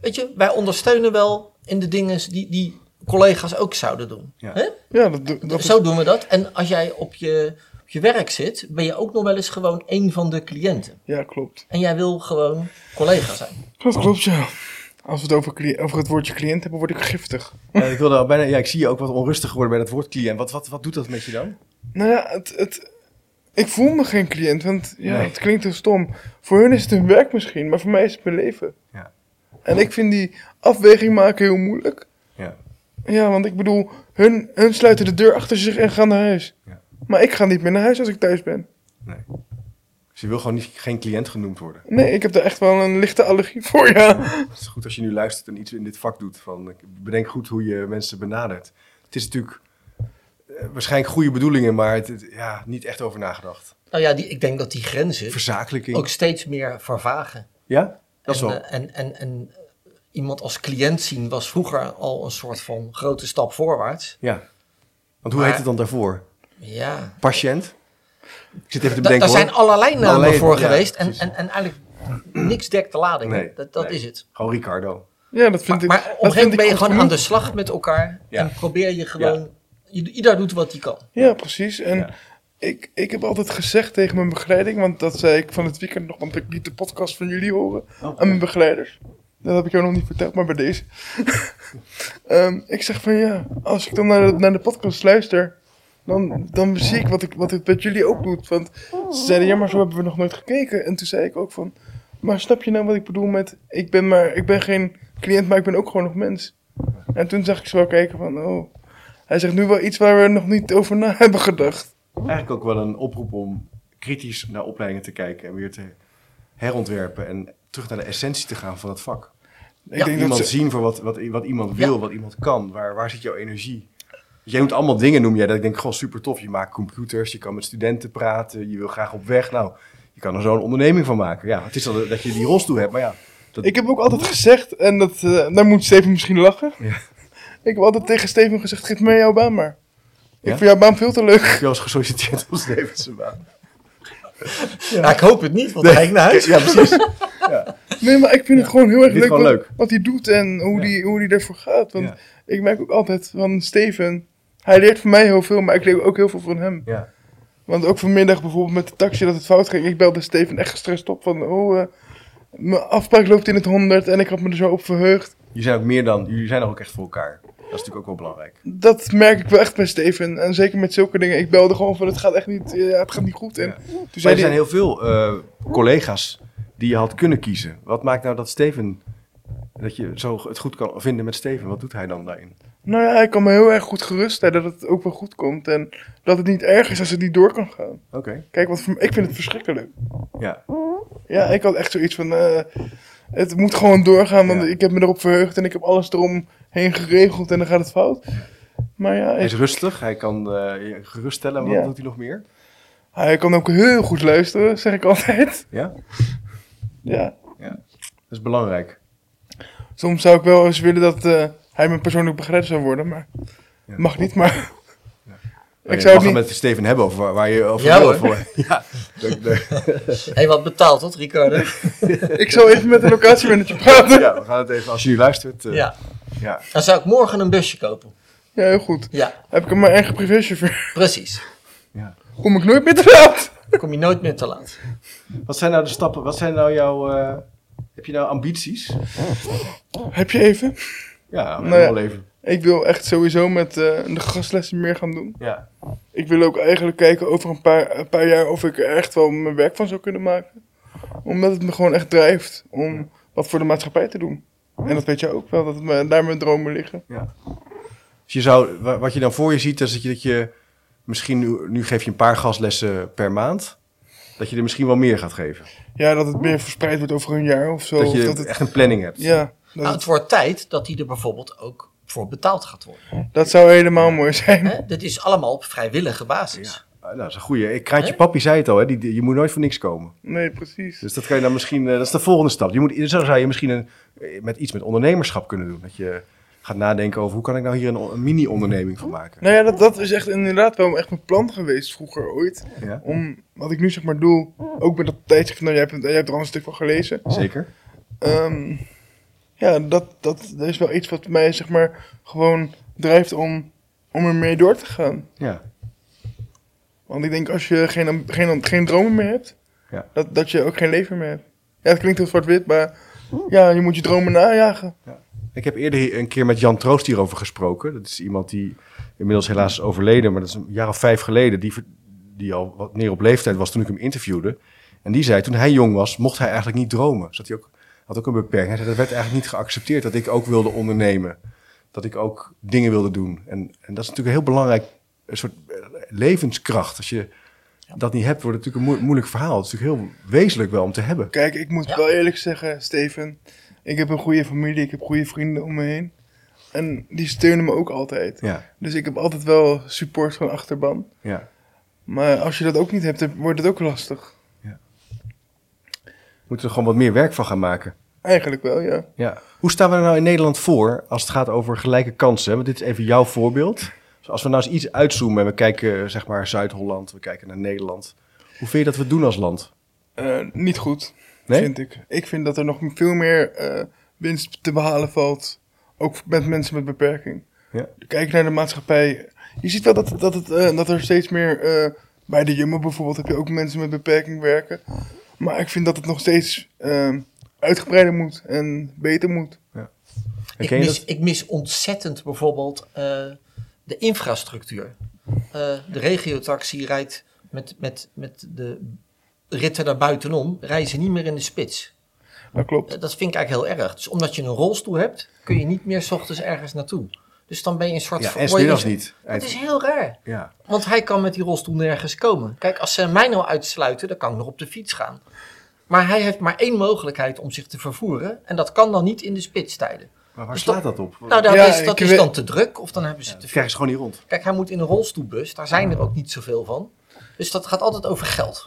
C: Weet je, wij ondersteunen wel in de dingen die, die collega's ook zouden doen.
A: Ja.
C: Hè?
B: ja, dat, doe- dat is-
C: Zo doen we dat. En als jij op je, op je werk zit, ben je ook nog wel eens gewoon één van de cliënten.
B: ja, klopt.
C: En jij wil gewoon collega zijn.
B: Dat klopt, ja. Als we het over, cli- over het woordje cliënt hebben, word ik giftig.
A: Ja, Eh, ik, wilde al bijna, ja, ik zie je ook wat onrustig worden bij dat woord cliënt. Wat, wat, wat doet dat met je dan?
B: Nou ja, het, het, ik voel me geen cliënt, want ja,
A: Nee.
B: het klinkt heel stom. Voor hun is het hun werk misschien, maar voor mij is het mijn leven.
A: Ja.
B: En ik vind die afweging maken heel moeilijk.
A: Ja.
B: Ja, want ik bedoel, hun, hun sluiten de deur achter zich en gaan naar huis.
A: Ja.
B: Maar ik ga niet meer naar huis als ik thuis ben.
A: Dus je wil gewoon niet, geen cliënt genoemd worden.
B: Nee, ik heb daar echt wel een lichte allergie voor, ja.
A: Het is goed als je nu luistert en iets in dit vak doet. Van, eh, bedenk goed hoe je mensen benadert. Het is natuurlijk eh, waarschijnlijk goede bedoelingen, maar het, het- ja, niet echt over nagedacht.
C: Nou ja, die, ik denk dat die grenzen
A: Verzakelijking.
C: ook steeds meer vervagen.
A: Ja? Dat is
C: en,
A: wel.
C: eh, en, en, en iemand als cliënt zien was vroeger al een soort van grote stap voorwaarts.
A: ja. Want hoe
C: maar-
A: heet het dan daarvoor?
C: Ja.
A: Patiënt? Ik zit even te
C: Da-
A: bedenken
C: daar
A: hoor.
C: zijn allerlei namen
A: Allerlei-
C: voor
A: ja,
C: geweest. En,
A: precies.
C: en, en eigenlijk niks dekt de lading.
A: Nee,
C: dat dat
A: nee.
C: is het.
A: Gewoon Ricardo.
B: Ja, dat vind
C: Maar,
B: ik...
C: maar op een
B: dat
C: gegeven moment
B: vind
C: ben je
B: ik
C: gewoon
B: goed
C: aan de slag met elkaar.
A: Ja.
C: En probeer je gewoon... i- Ieder doet wat hij kan.
B: Ja, precies. En
A: Ja.
B: ik, ik heb altijd gezegd tegen mijn begeleiding, want dat zei ik van het weekend nog, want ik liet de podcast van jullie horen aan mijn begeleiders. Dat heb ik jou nog niet verteld, maar bij deze. <laughs> Ehm, ik zeg van ja, als ik dan naar de, naar de podcast luister, dan, dan zie ik wat ik, wat ik met jullie ook doet. Want ze zeiden ja, maar zo hebben we nog nooit gekeken. En toen zei ik ook van, maar snap je nou wat ik bedoel met, ik ben, maar, ik ben geen cliënt, maar ik ben ook gewoon nog mens. En toen zag ik ze wel kijken van, oh, hij zegt nu wel iets waar we nog niet over na <laughs> hebben gedacht.
A: Eigenlijk ook wel een oproep om kritisch naar opleidingen te kijken en weer te herontwerpen en terug naar de essentie te gaan van het vak.
B: Ik
C: Ja,
B: denk dat
A: Iemand
B: ze-
A: zien voor wat, wat, wat iemand wil,
C: Ja.
A: wat iemand kan. Waar, waar zit jouw energie? Jij noemt allemaal dingen, noem jij, dat ik denk, goh, super tof. Je maakt computers, je kan met studenten praten, je wil graag op weg. Nou, je kan er zo'n onderneming van maken. Ja, het is al dat je die rolstoel hebt, maar ja. Dat,
B: Ik heb ook altijd gezegd, en dat, eh, daar moet Steven misschien lachen.
A: Ja.
B: Ik heb altijd tegen Steven gezegd, geef mij jouw baan maar. Ik
A: Ja?
B: vind jouw baan veel te leuk. <laughs>
A: heb je al eens gesolliciteerd op Stevense baan.
C: Ja, ik hoop het niet, want hij ging naar huis.
A: Ja, precies.
B: Nee, maar ik vind het gewoon heel
A: dit
B: erg leuk,
A: is gewoon
B: wat,
A: leuk.
B: wat hij doet en hoe,
A: Ja.
B: die, hoe die ervoor gaat. Want
A: Ja.
B: ik merk ook altijd van Steven, hij leert van mij heel veel, maar ik leer ook heel veel van hem.
A: Ja.
B: Want ook vanmiddag bijvoorbeeld met de taxi dat het fout ging. Ik belde Steven echt gestrest op van, oh, eh, mijn afspraak loopt in het honderd en ik had me er zo op verheugd.
A: Jullie zijn ook meer dan, jullie zijn er ook echt voor elkaar. Dat is natuurlijk ook wel belangrijk.
B: Dat merk ik wel echt bij Steven. En zeker met zulke dingen. Ik belde gewoon van het gaat echt niet, ja, het gaat niet goed. En
A: Ja.
B: toen
A: Maar
B: zei
A: er zijn
B: hij,
A: heel veel eh, collega's die je had kunnen kiezen. Wat maakt nou dat Steven, dat je zo het goed kan vinden met Steven? Wat doet hij dan daarin?
B: nou ja, ik kan me heel erg goed geruststellen dat het ook wel goed komt. En dat het niet erg is als het niet door kan gaan.
A: Oké.
B: Kijk, want voor- ik vind het verschrikkelijk.
A: Ja.
B: Ja, ik had echt zoiets van, eh, het moet gewoon doorgaan. Want
A: Ja.
B: ik heb me erop verheugd en ik heb alles eromheen geregeld. En dan gaat het fout. Maar ja,
A: Hij
B: ik-
A: is rustig, hij kan eh, je geruststellen. Wat
B: Ja.
A: doet hij nog meer?
B: hij kan ook heel goed luisteren, zeg ik altijd. <laughs>
A: Ja? Dat
B: Ja.
A: is belangrijk.
B: Soms zou ik wel eens willen dat eh, hij mijn persoonlijk begeleider zou worden, maar
A: Ja.
B: mag niet. Maar
A: Maar
B: ik
A: je
B: zou
A: mag
B: het
A: Eh, het
B: niet.
A: met Steven hebben over waar, waar je over
C: Ja,
A: wil.
C: hoor.
A: Voor. <laughs> Ja. Leuk, leuk.
C: Hey, wat betaalt dat, Ricardo?
B: Ik zal even met de
A: <laughs>
B: locatiemanager praten.
A: ja,
B: Ja.
A: we gaan het even, als je nu luistert. eh,
C: Ja.
A: ja.
C: Dan zou ik morgen een busje kopen.
B: heel goed.
C: Ja,
B: Heb ik hem mijn eigen privéchauffeur.
C: precies.
B: Kom ik nooit meer te laat.
C: Dan kom je nooit meer te laat.
A: Wat zijn nou de stappen? Wat zijn nou jouw. eh, heb je nou ambities?
B: Heb je even?
A: Ja,
B: Nou ja.
A: helemaal leven.
B: Ik wil echt sowieso met eh, de gastlessen meer gaan doen.
D: Ja.
B: Ik wil ook eigenlijk kijken over een paar, een paar jaar of ik er echt wel mijn werk van zou kunnen maken. Omdat het me gewoon echt drijft om wat voor de maatschappij te doen. En dat weet je ook wel, dat het me, daar mijn dromen liggen.
A: Dus je zou, wa- wat je dan voor je ziet, is dat je, dat je misschien nu, nu geef je een paar gaslessen per maand. Dat je er misschien wel meer gaat geven.
B: Ja, dat het meer verspreid wordt over een jaar of zo.
A: dat je
B: of dat het,
A: echt een planning hebt.
B: ja, dat,
C: Nou, het wordt tijd dat die er bijvoorbeeld ook voor betaald gaat worden.
B: het- dat zou helemaal mooi zijn. <laughs>
C: Hè? Dit is allemaal op vrijwillige basis.
A: Ah, Nou, dat is een goeie. Ik kraantje
C: Hè?
A: papi zei het al, hè? Die, die- je moet nooit voor niks komen.
B: Nee, precies.
A: Dus dat kan je dan misschien, eh, dat is de volgende stap. Je moet, zo zou je misschien een, eh, met iets met ondernemerschap kunnen doen. Dat je gaat nadenken over hoe kan ik nou hier een, on- een mini-onderneming van maken.
B: Nou ja, dat, dat is echt inderdaad wel echt mijn plan geweest vroeger ooit.
A: Ja,
B: Om wat ik nu zeg maar doe, ook met dat tijdschrift, nou jij hebt, jij hebt er al een stuk van gelezen.
A: zeker.
B: Ehm, ja, dat, dat, dat is wel iets wat mij zeg maar gewoon drijft om, om ermee door te gaan.
A: Ja.
B: Want ik denk als je geen, geen, geen dromen meer hebt,
A: Ja.
B: dat, dat je ook geen leven meer hebt. Ja, het klinkt heel zwart-wit, maar ja, je moet je dromen najagen.
A: Ik heb eerder hier- een keer met Jan Troost hierover gesproken. Dat is iemand die inmiddels helaas is overleden, maar dat is een jaar of vijf geleden. Die, ver- die al wat meer op leeftijd was toen ik hem interviewde. En die zei, toen hij jong was, mocht hij eigenlijk niet dromen. Zat hij ook, had ook een beperking. Hij zei, dat werd eigenlijk niet geaccepteerd dat ik ook wilde ondernemen. Dat ik ook dingen wilde doen. En, en dat is natuurlijk een heel belangrijk een soort eh, levenskracht. Als je dat niet hebt, wordt het natuurlijk een moe- moeilijk verhaal. Het is natuurlijk heel wezenlijk wel om te hebben.
B: Kijk, ik moet
C: Ja.
B: wel eerlijk zeggen, Steven, ik heb een goede familie, ik heb goede vrienden om me heen. En die steunen me ook altijd.
A: Ja,
B: Dus ik heb altijd wel support van achterban.
A: ja.
B: Maar als je dat ook niet hebt, dan wordt het ook lastig.
A: We moeten er gewoon wat meer werk van gaan maken.
B: Eigenlijk wel, ja.
A: Ja. Hoe staan we er nou in Nederland voor als het gaat over gelijke kansen? hè? Want dit is even jouw voorbeeld. Dus als we nou eens iets uitzoomen en we kijken eh, zeg maar Zuid-Holland, we kijken naar Nederland. Hoe vind je dat we het doen als land?
B: Eh, niet goed,
A: Nee?
B: vind ik. Ik vind dat er nog veel meer eh, winst te behalen valt. Ook met mensen met beperking.
A: Ja.
B: Kijk naar de maatschappij. Je ziet wel dat, het- dat, het, eh, dat er steeds meer... eh, bij de Jumbo bijvoorbeeld heb je ook mensen met beperking werken. Maar ik vind dat het nog steeds eh, uitgebreider moet en beter moet.
A: En
C: Ik
A: ken je
C: mis,
A: dat?
C: ik mis ontzettend bijvoorbeeld eh, de infrastructuur. Eh, de regiotaxi rijdt met, met, met de ritten naar buitenom, rijden ze niet meer in de spits.
B: Dat klopt.
C: Eh, dat vind ik eigenlijk heel erg. Dus omdat je een rolstoel hebt, kun je niet meer 's ochtends ergens naartoe. Dus dan ben je een soort...
A: Ja,
C: van-
A: en
C: word je
A: smiddags
C: een-
A: niet.
C: Dat is heel raar.
A: Ja.
C: Want hij kan met die rolstoel nergens komen. Kijk, als ze mij nou uitsluiten, dan kan ik nog op de fiets gaan. Maar hij heeft maar één mogelijkheid om zich te vervoeren. En dat kan dan niet in de spitstijden.
A: Maar waar
C: Dus
A: slaat dat op?
C: Nou, dat,
B: Ja,
C: is,
B: ik
C: dat is
B: weet-
C: dan te druk. Of dan hebben ze te
A: dat
C: veel.
A: krijgen ze gewoon niet rond.
C: Kijk, hij moet in een rolstoelbus. Daar zijn er ook niet zoveel van. Dus dat gaat altijd over geld.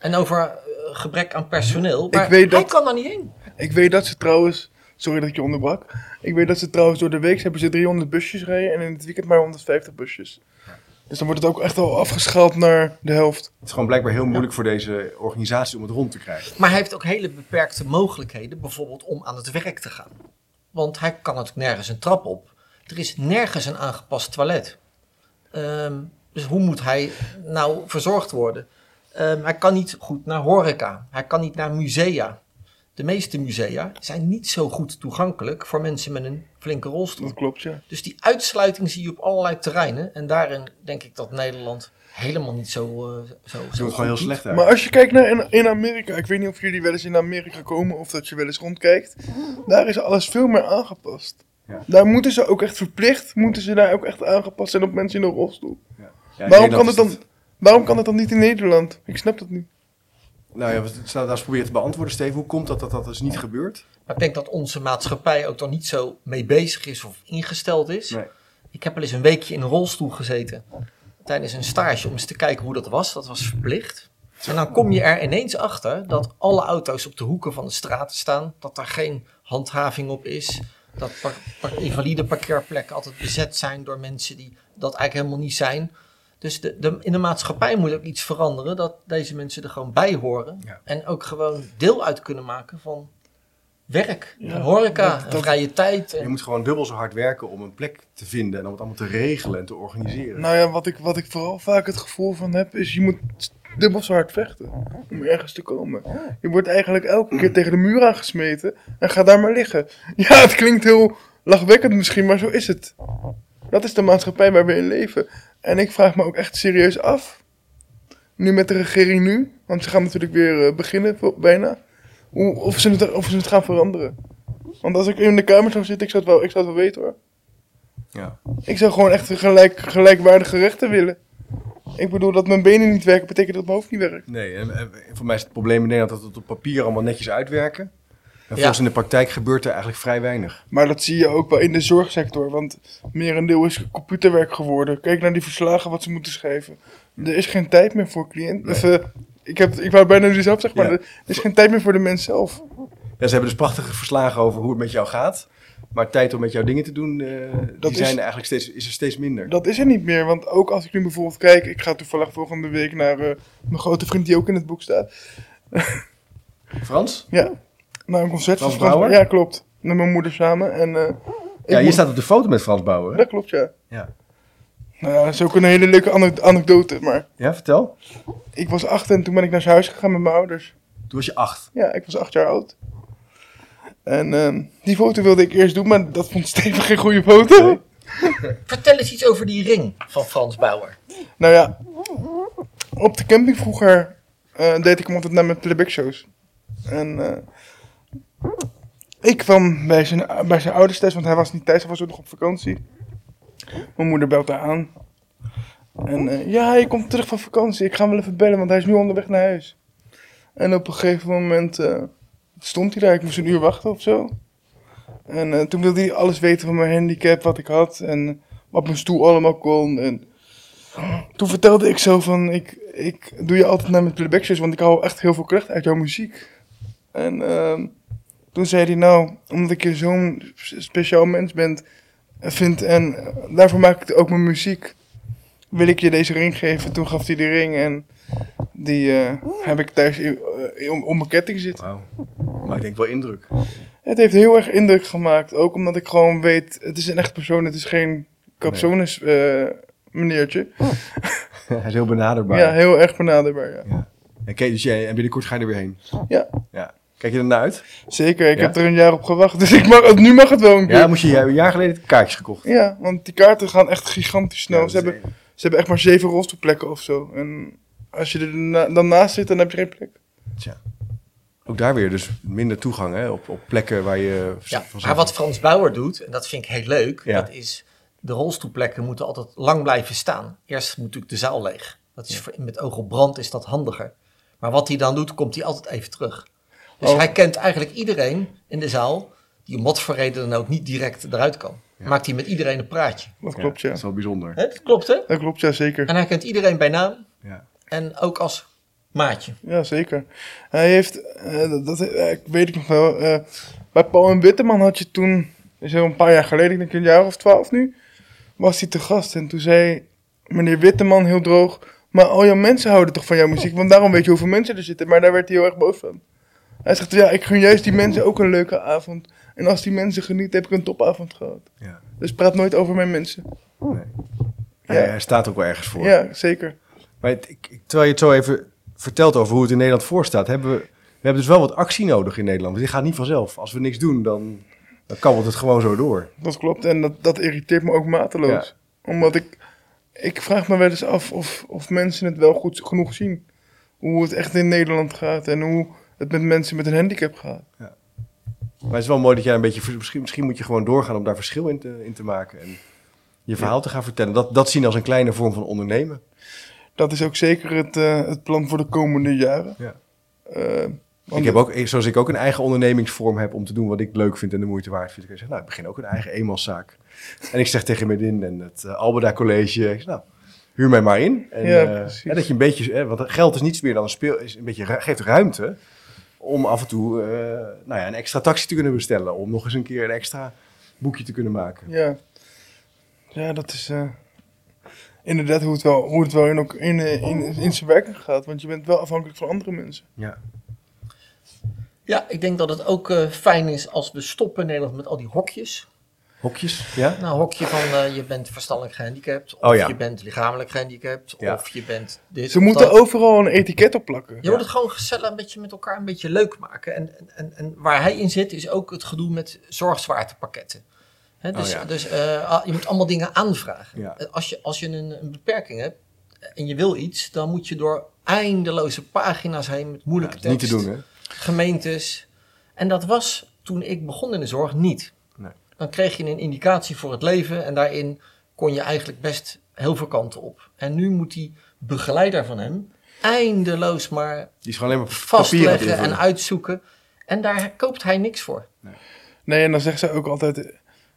C: En over eh, gebrek aan personeel. Maar
B: weet
C: hij
B: dat-
C: kan daar niet heen.
B: Ik weet dat ze trouwens... Sorry dat ik je onderbrak. Ik weet dat ze trouwens door de week hebben ze 300 busjes rijden en in het weekend maar 150 busjes. Dus dan wordt het ook echt al afgeschaald naar de helft.
A: Het is gewoon blijkbaar heel moeilijk voor deze organisatie om het rond te krijgen.
C: Maar hij heeft ook hele beperkte mogelijkheden, bijvoorbeeld om aan het werk te gaan. Want hij kan natuurlijk nergens een trap op. Er is nergens een aangepast toilet. Ehm, dus hoe moet hij nou verzorgd worden? Ehm, hij kan niet goed naar horeca. Hij kan niet naar musea. De meeste musea zijn niet zo goed toegankelijk voor mensen met een flinke rolstoel.
B: Dat klopt, ja.
C: Dus die uitsluiting zie je op allerlei terreinen. En daarin denk ik dat Nederland helemaal niet zo. eh, zo,
A: Ze
C: zo
A: doen het
C: goed
A: gewoon heel
C: doet.
A: slecht uit.
B: Maar als je kijkt naar in, in Amerika, ik weet niet of jullie wel eens in Amerika komen of dat je wel eens rondkijkt, daar is alles veel meer aangepast.
A: Ja.
B: Daar moeten ze ook echt verplicht, moeten ze daar ook echt aangepast zijn op mensen in een rolstoel.
A: Ja, in
B: waarom,
A: Nederland
B: kan
A: is
B: het dan,
A: dat-
B: waarom kan het dan niet in Nederland? Ik snap dat niet.
A: Nou ja, we staan daar eens proberen te beantwoorden, Steven. Hoe komt dat dat dat dus niet gebeurt?
C: Maar ik denk dat onze maatschappij ook dan niet zo mee bezig is of ingesteld is.
A: Nee.
C: Ik heb wel eens een weekje in een rolstoel gezeten tijdens een stage om eens te kijken hoe dat was. Dat was verplicht. En dan kom je er ineens achter dat alle auto's op de hoeken van de straten staan. Dat daar geen handhaving op is. Dat par- par- invalide parkeerplekken altijd bezet zijn door mensen die dat eigenlijk helemaal niet zijn. Dus de, de, in de maatschappij moet ook iets veranderen dat deze mensen er gewoon bij horen.
A: Ja.
C: En ook gewoon deel uit kunnen maken van werk,
B: Ja,
C: en horeca,
B: dat-
C: en
B: dat-
C: vrije tijd. en-
A: Je moet gewoon dubbel zo hard werken om een plek te vinden en om het allemaal te regelen en te organiseren.
B: Nou ja, wat ik, wat ik vooral vaak het gevoel van heb, is je moet dubbel zo hard vechten om ergens te komen. <laughs> Je wordt eigenlijk elke keer tegen de muur aangesmeten en ga daar maar liggen. Ja, het klinkt heel lachwekkend misschien, maar zo is het. Dat is de maatschappij waar we in leven. En ik vraag me ook echt serieus af, nu met de regering nu, want ze gaan natuurlijk weer eh, beginnen, vo- bijna, hoe, of, ze het, of ze het gaan veranderen. Want als ik in de Kamer zou zitten, ik zou het wel, ik zou het wel weten hoor.
A: Ja.
B: Ik zou gewoon echt gelijk, gelijkwaardige rechten willen. Ik bedoel, dat mijn benen niet werken, betekent dat mijn hoofd niet werkt.
A: Nee, en, en voor mij is het probleem in Nederland dat we het op papier allemaal netjes uitwerken. En
C: Ja.
A: volgens in de praktijk gebeurt er eigenlijk vrij weinig.
B: Maar dat zie je ook wel in de zorgsector, want merendeel is computerwerk geworden. Kijk naar die verslagen wat ze moeten schrijven. Er is geen tijd meer voor cliënt.
A: Nee.
B: Of, eh, ik, heb, ik wou bijna nu zelf zeggen, maar
A: Ja.
B: er is geen tijd meer voor de mens zelf.
A: Ja, ze hebben dus prachtige verslagen over hoe het met jou gaat. Maar tijd om met jouw dingen te doen, eh, die
B: is-
A: zijn er eigenlijk steeds, is er steeds minder.
B: Dat is er niet meer, want ook als ik nu bijvoorbeeld kijk, ik ga toevallig volgende week naar eh, mijn grote vriend die ook in het boek staat.
A: Frans?
B: Ja, naar een concert
A: Frans
B: van
A: Brouwer?
B: Ja, klopt. Met mijn moeder samen. En, eh, ik
A: Ja, je
B: moet-
A: staat op de foto met Frans Bouwer. hè?
B: Dat klopt, ja.
A: Ja.
B: Nou ja, dat is ook een hele leuke ane- anekdote, maar
A: Ja, vertel.
B: ik was acht en toen ben ik naar zijn huis gegaan met mijn ouders.
A: Toen was je acht.
B: Ja, ik was acht jaar oud. En ehm, die foto wilde ik eerst doen, maar dat vond Steven geen goede foto.
A: Nee.
C: Vertel eens iets over die ring van Frans Bauer.
B: Nou ja, op de camping vroeger eh, deed ik hem altijd naar mijn playback shows. En eh, ik kwam bij zijn, bij zijn ouders thuis, want hij was niet thuis, hij was ook nog op vakantie. Mijn moeder belt haar aan. En eh, ja, hij komt terug van vakantie, ik ga hem wel even bellen, want hij is nu onderweg naar huis. En op een gegeven moment eh, stond hij daar, ik moest een uur wachten of zo. En eh, toen wilde hij alles weten van mijn handicap, wat ik had en wat mijn stoel allemaal kon. En toen vertelde ik zo van, ik, ik doe je altijd naar mijn playback shows, want ik haal echt heel veel kracht uit jouw muziek. En ehm, toen zei hij, nou, omdat ik je zo'n s- speciaal mens bent, vind en eh, daarvoor maak ik ook mijn muziek, wil ik je deze ring geven. Toen gaf hij die ring en die eh, heb ik thuis in- eh, om, om mijn ketting zitten.
A: Wauw. Maar ik denk wel indruk. <laughs>
B: Het heeft heel erg indruk gemaakt, ook omdat ik gewoon weet, het is een echt persoon, het is geen capsones eh, meneertje.
A: Hij is heel benaderbaar.
B: Ja, heel erg benaderbaar, ja.
A: Oké, dus jij, en binnenkort ga je er weer heen.
B: Ja.
A: ja. Kijk je er naar uit?
B: Zeker, ik
A: Ja?
B: heb er een jaar op gewacht, dus ik mag, het- nu mag het wel een keer.
A: Ja,
B: Ja,
A: moet je, je hebt een jaar geleden kaartjes gekocht.
B: want die kaarten gaan echt gigantisch snel.
A: Ja, dat
B: Nou, ze,
A: is-
B: hebben, ze hebben echt maar zeven rolstoelplekken of zo. En als je er na- dan naast zit, dan heb je geen plek.
A: Ook daar weer dus minder toegang hè, op, op plekken waar je...
C: Ja,
A: vanzelf-
C: maar wat Frans Bauer doet, en dat vind ik heel leuk,
A: Ja.
C: dat is de rolstoelplekken moeten altijd lang blijven staan. Eerst moet natuurlijk de zaal leeg. Dat is voor- met oog op brand is dat handiger. Maar wat hij dan doet, komt hij altijd even terug. Dus
B: Oh.
C: hij kent eigenlijk iedereen in de zaal die om wat voor reden dan ook niet direct eruit kan. Maakt hij met iedereen een praatje.
B: Dat
A: Ja,
B: klopt, ja.
A: Dat is wel bijzonder.
C: Hè, dat klopt hè?
B: Dat klopt, ja, zeker.
C: En hij kent iedereen bij naam
A: Ja.
C: en ook als maatje.
B: Ja, zeker. Hij heeft, eh, dat, dat eh, ik weet ik nog wel, eh, bij Paul en Witteman had je toen, is al een paar jaar geleden, ik denk een jaar of twaalf nu, was hij te gast. En toen zei meneer Witteman heel droog, maar al jouw mensen houden toch van jouw muziek, want daarom weet je hoeveel mensen er zitten. Maar daar werd hij heel erg boos van. Hij zegt, ja, ik gun juist die mensen ook een leuke avond. En als die mensen genieten, heb ik een topavond gehad.
A: Ja.
B: Dus praat nooit over mijn mensen.
A: Hij, hij staat ook wel ergens voor.
B: Ja, zeker.
A: Maar het- ik, ik- terwijl je het zo even vertelt over hoe het in Nederland voorstaat, hebben we, we hebben dus wel wat actie nodig in Nederland. Want dit gaat niet vanzelf. Als we niks doen, dan, dan kabbelt het gewoon zo door.
B: Dat klopt en dat, dat irriteert me ook mateloos. Omdat ik, ik vraag me wel eens af of, of mensen het wel goed genoeg zien. Hoe het echt in Nederland gaat en hoe het met mensen met een handicap gaat.
A: Maar het is wel mooi dat jij een beetje... vers- Misschien, misschien moet je gewoon doorgaan om daar verschil in te, in te maken. En je verhaal te gaan vertellen. Dat, dat zien als een kleine vorm van ondernemen.
B: Dat is ook zeker het, eh, het plan voor de komende jaren.
A: Ja.
B: Eh, want
A: Ik heb ook, zoals ik ook een eigen ondernemingsvorm heb om te doen wat ik leuk vind en de moeite waard vind. Ik zeg, nou, ik begin ook een eigen eenmanszaak. En ik zeg tegen Medin en het eh, Alberda College, ik zeg, nou, huur mij maar in. En,
B: Ja,
A: eh,
B: precies.
A: en dat je een beetje, eh, want geld is niets meer dan een speel, is een beetje, ru- geeft ruimte om af en toe eh, nou ja, een extra taxi te kunnen bestellen. Om nog eens een keer een extra boekje te kunnen maken.
B: Ja, ja dat is eh, inderdaad hoe het wel, hoe het wel in, ook in, eh, in, in zijn werking gaat. Want je bent wel afhankelijk van andere mensen.
A: Ja,
C: Ja, ik denk dat het ook eh, fijn is als we stoppen in Nederland met al die hokjes.
A: hokjes, ja.
C: Nou, hokje van eh, je bent verstandelijk gehandicapt, of
A: Oh ja.
C: je bent lichamelijk gehandicapt,
A: Ja.
C: of je bent dit.
B: Ze
C: of
B: moeten
C: dat.
B: overal een etiket op plakken.
C: Je moet het gewoon gezellig een beetje met elkaar een beetje leuk maken. En, en, en waar hij in zit is ook het gedoe met zorgzwaartepakketten. Hè, dus
A: Oh ja.
C: dus eh, ah, je moet allemaal dingen aanvragen.
A: Ja.
C: Eh, Als je, als je een, een beperking hebt en je wil iets, dan moet je door eindeloze pagina's heen met moeilijke
A: Ja, niet
C: tekst,
A: te doen, hè?
C: gemeentes. En dat was toen ik begon in de zorg niet.
A: Nee.
C: Dan kreeg je een indicatie voor het leven en daarin kon je eigenlijk best heel veel kanten op. En nu moet die begeleider van hem eindeloos maar
A: Die is gewoon alleen maar papier aan het
C: vastleggen
A: invullen.
C: en uitzoeken. En daar koopt hij niks voor.
B: Nee, en dan zegt zij ook altijd... eh,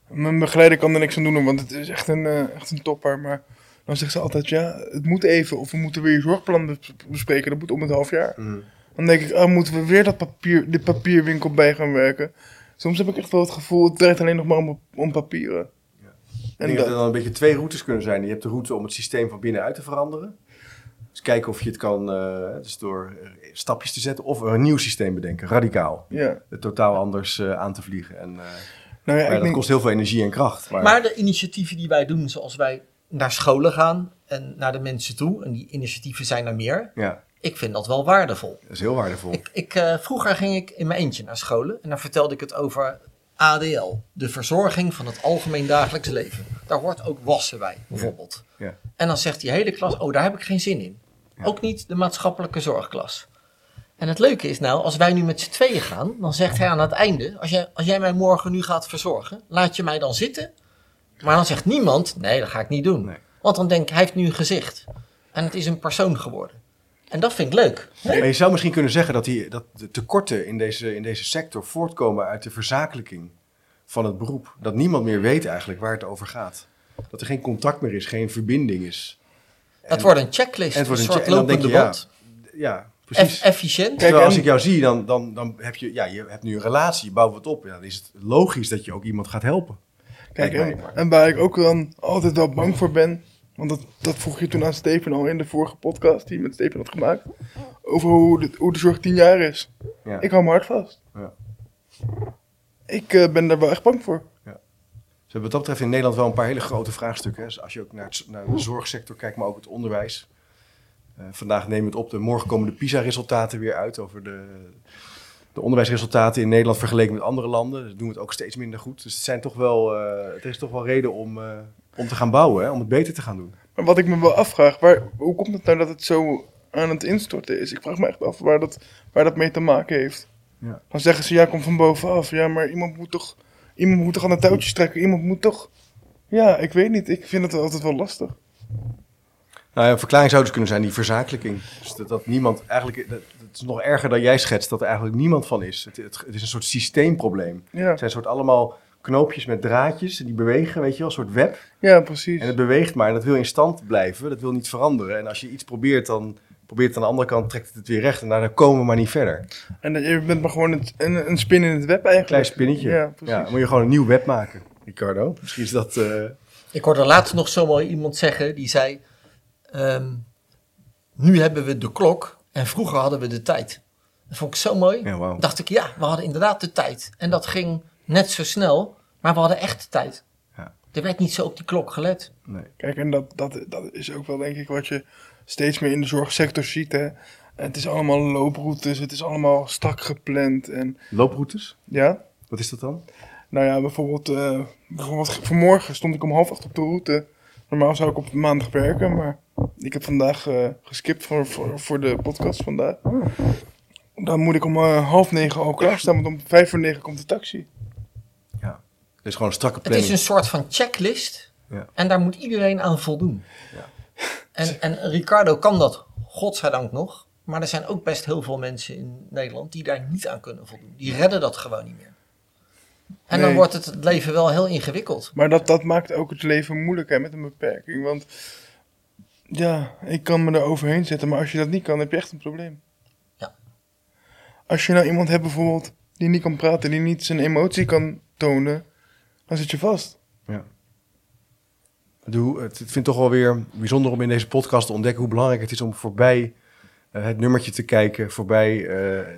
B: Mijn begeleider kan er niks aan doen, want het is echt een, eh, echt een topper. Maar dan zegt ze altijd, ja, het moet even. Of we moeten weer je zorgplan bes- bespreken. Dat moet om het half jaar.
A: Mhm.
B: Dan denk ik, oh, moeten we weer dat papier, de papierwinkel bij gaan werken. Soms heb ik echt wel het gevoel, het draait alleen nog maar om, om papieren.
A: Ik
B: En
A: denk dat er
B: dat,
A: dan een beetje twee routes kunnen zijn. Je hebt de route om het systeem van binnenuit te veranderen. Dus kijken of je het kan, eh, dus door eh, stapjes te zetten. Of een nieuw systeem bedenken, radicaal.
B: ja.
A: Het totaal anders eh, aan te vliegen. En, eh,
B: Nou ja,
A: maar ja,
B: ik
A: dat
B: denk,
A: kost heel veel energie en kracht. Maar,
C: Maar de initiatieven die wij doen, zoals wij naar scholen gaan en naar de mensen toe, en die initiatieven zijn er meer,
A: ja,
C: ik vind dat wel waardevol.
A: dat is heel waardevol.
C: Ik, ik, eh, vroeger ging ik in mijn eentje naar scholen en dan vertelde ik het over ADL, de verzorging van het algemeen dagelijks leven. Daar hoort ook wassen bij, bijvoorbeeld.
A: Ja.
C: En dan zegt die hele klas, oh daar heb ik geen zin in. Ook niet de maatschappelijke zorgklas. En het leuke is nou, als wij nu met z'n tweeën gaan, dan zegt hij aan het einde, als jij, als jij mij morgen nu gaat verzorgen, laat je mij dan zitten. Maar dan zegt niemand, nee dat ga ik niet doen.
A: Nee.
C: Want dan denk ik, hij heeft nu een gezicht. En het is een persoon geworden. En dat vind ik leuk.
A: Maar je zou misschien kunnen zeggen dat, die, dat de tekorten in deze, in deze sector voortkomen uit de verzakelijking van het beroep. Dat niemand meer weet eigenlijk waar het over gaat. Dat er geen contact meer is, geen verbinding is.
C: Het wordt een checklist,
A: En het wordt
C: een
A: een
C: soort
A: check- en dan
C: lopende
A: denk je,
C: band.
A: Ja, precies.
C: Eff- efficiënt.
B: Kijk,
A: Terwijl als
B: en-
A: ik jou zie, dan, dan, dan heb je, ja, je hebt nu een relatie, je bouwt wat op. Ja, dan is het logisch dat je ook iemand gaat helpen.
B: kijk,
A: Lijkt mij.
B: en, en waar ik ook dan altijd wel bang voor ben, want dat, dat vroeg je toen aan Steven al in de vorige podcast die je met Steven had gemaakt, over hoe de, hoe de zorg tien jaar is.
A: Ja.
B: Ik hou me hard vast.
A: Ja.
B: Ik eh, ben daar wel echt bang voor.
A: Ze hebben wat dat betreft in Nederland wel een paar hele grote vraagstukken. Hè. Dus Als je ook naar, het, naar de zorgsector kijkt, maar ook het onderwijs. Eh, vandaag nemen we het op. De, morgen komen de PISA-resultaten weer uit over de, de onderwijsresultaten in Nederland vergeleken met andere landen. Dus doen we het ook steeds minder goed. Dus het, zijn toch wel, eh, het is toch wel reden om, eh, om te gaan bouwen, hè, om het beter te gaan doen.
B: Maar wat ik me wel afvraag, waar, hoe komt het nou dat het zo aan het instorten is? Ik vraag me echt af waar dat, waar dat mee te maken heeft.
A: Ja.
B: Dan zeggen ze, ja, kom van bovenaf. Ja, maar iemand moet toch, iemand moet toch aan de touwtjes trekken? Iemand moet toch... Ja, ik weet niet. Ik vind het altijd wel lastig.
A: Nou ja, een verklaring zou dus kunnen zijn die verzakelijking. Dus dat, dat niemand eigenlijk, dat, het is nog erger dan jij schetst, dat er eigenlijk niemand van is. Het, het, het is een soort systeemprobleem.
B: Ja,
A: Het zijn soort allemaal knoopjes met draadjes en die bewegen, weet je wel, een soort web.
B: ja precies.
A: En het beweegt maar en dat wil in stand blijven, dat wil niet veranderen. En als je iets probeert, dan probeert het aan de andere kant, trekt het het weer recht en daarna komen we maar niet verder.
B: En dat- je bent maar gewoon een, een, een spin in het web eigenlijk.
A: Een klein spinnetje.
B: Ja,
A: Ja,
B: precies.
A: dan moet je gewoon een nieuw web maken, Ricardo. Misschien is dat... eh,
C: Ik hoorde laatst nog zo mooi iemand zeggen, die zei... ehm, nu hebben we de klok en vroeger hadden we de tijd. Dat vond ik zo mooi.
A: Ja, wauw.
C: dacht ik, ja, we hadden inderdaad de tijd. En dat ging net zo snel, maar we hadden echt de tijd.
A: Ja.
C: Er werd niet zo op die klok gelet.
A: nee.
B: Kijk, en dat, dat, dat is ook wel denk ik wat je steeds meer in de zorgsector ziet, hè. Het is allemaal looproutes, het is allemaal strak gepland en...
A: Looproutes,
B: Ja?
A: wat is dat dan?
B: Nou ja, bijvoorbeeld, eh, bijvoorbeeld ge- vanmorgen stond ik om half acht op de route. Normaal zou ik op maandag werken, maar ik heb vandaag eh, geskipt voor, voor, voor de podcast vandaag. Dan moet ik om eh, half negen al klaarstaan, want om vijf voor negen komt de taxi.
A: Het is gewoon een strakke
C: Het is
A: planning.
C: een soort van checklist
A: Ja.
C: en daar moet iedereen aan voldoen. En, en Ricardo kan dat, godzijdank nog. Maar er zijn ook best heel veel mensen in Nederland die daar niet aan kunnen voldoen. Die redden dat gewoon niet meer. En dan
B: Nee.
C: wordt het, het leven wel heel ingewikkeld.
B: Maar dat, dat maakt ook het leven moeilijk hè, met een beperking, want ja, ik kan me daar overheen zetten, maar als je dat niet kan, heb je echt een probleem.
C: Ja.
B: Als je nou iemand hebt bijvoorbeeld die niet kan praten, die niet zijn emotie kan tonen, dan zit je vast.
A: Doe, het, ik vind het toch wel weer bijzonder om in deze podcast te ontdekken hoe belangrijk het is om voorbij eh, het nummertje te kijken, voorbij eh, eh,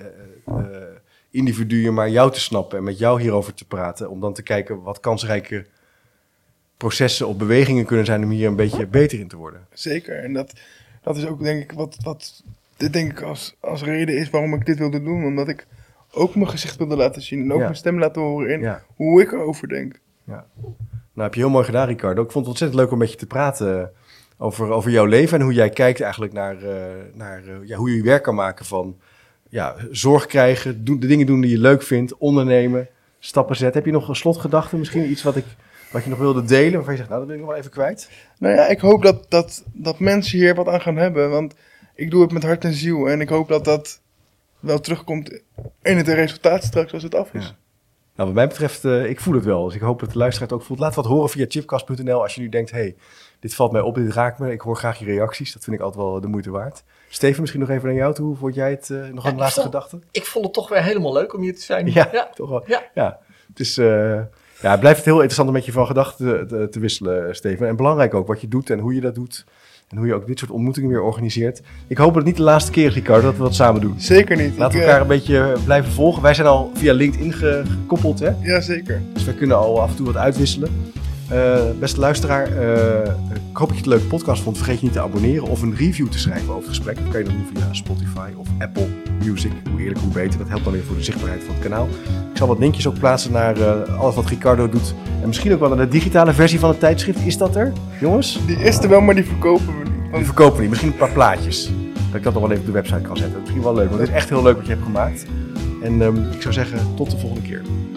A: individuen, maar jou te snappen en met jou hierover te praten. Om dan te kijken wat kansrijke processen of bewegingen kunnen zijn om hier een beetje beter in te worden.
B: Zeker. En dat, dat is ook denk ik wat, wat dit denk ik als, als reden is waarom ik dit wilde doen. Omdat ik ook mijn gezicht wilde laten zien en ook
A: Ja.
B: mijn stem laten horen in
A: Ja.
B: hoe ik erover denk.
A: Nou, heb je heel mooi gedaan, Ricardo. Ik vond het ontzettend leuk om met je te praten over, over jouw leven en hoe jij kijkt eigenlijk naar, eh, naar eh, ja, hoe je werk kan maken van ja, zorg krijgen, doen, de dingen doen die je leuk vindt, ondernemen, stappen zetten. Heb je nog een slotgedachte misschien? Iets wat, ik, wat je nog wilde delen, waarvan je zegt, nou, dat wil ik nog wel even kwijt.
B: Nou ja, ik hoop dat, dat, dat mensen hier wat aan gaan hebben. Want ik doe het met hart en ziel. En ik hoop dat dat wel terugkomt in het resultaat straks als het af is.
A: Ja. Nou, wat mij betreft, eh, ik voel het wel. Dus ik hoop dat de luisteraar het ook voelt. Laat wat horen via chipcast.nl als je nu denkt, hey, dit valt mij op, dit raakt me. Ik hoor graag je reacties. Dat vind ik altijd wel de moeite waard. Steven, misschien nog even naar jou toe. Hoe vond jij het? eh, nog
C: Ja,
A: een laatste
C: ik vond-
A: gedachte?
C: Ik vond het toch weer helemaal leuk om hier te zijn.
A: Ja,
C: ja.
A: toch wel. Ja.
C: Ja.
A: Het is, eh, ja, het blijft heel interessant om met je van gedachten te, te wisselen, Steven. En belangrijk ook wat je doet en hoe je dat doet. En hoe je ook dit soort ontmoetingen weer organiseert. Ik hoop dat het niet de laatste keer is, Ricardo, dat we dat samen doen.
B: Zeker niet.
A: Laten we
B: Ik,
A: elkaar
B: eh,
A: een beetje blijven volgen. Wij zijn al via LinkedIn ge- gekoppeld, hè?
B: eh, Ja, zeker.
A: Dus wij kunnen al af en toe wat uitwisselen. Eh, beste luisteraar, eh, ik hoop dat je het een leuke podcast vond. Vergeet je niet te abonneren of een review te schrijven over het gesprek. Dat kan je dan doen via Spotify of Apple Music. Hoe eerlijk, hoe beter. Dat helpt dan weer voor de zichtbaarheid van het kanaal. Ik zal wat linkjes ook plaatsen naar eh, alles wat Ricardo doet. En misschien ook wel naar de digitale versie van het tijdschrift. Is dat er, jongens?
B: Die is er wel, maar die verkopen we niet.
A: Die
B: Want
A: verkopen we niet. Misschien een paar plaatjes. Dat ik dat nog wel even op de website kan zetten. Dat is misschien wel leuk, want het is echt heel leuk wat je hebt gemaakt. En ehm, ik zou zeggen, tot de volgende keer.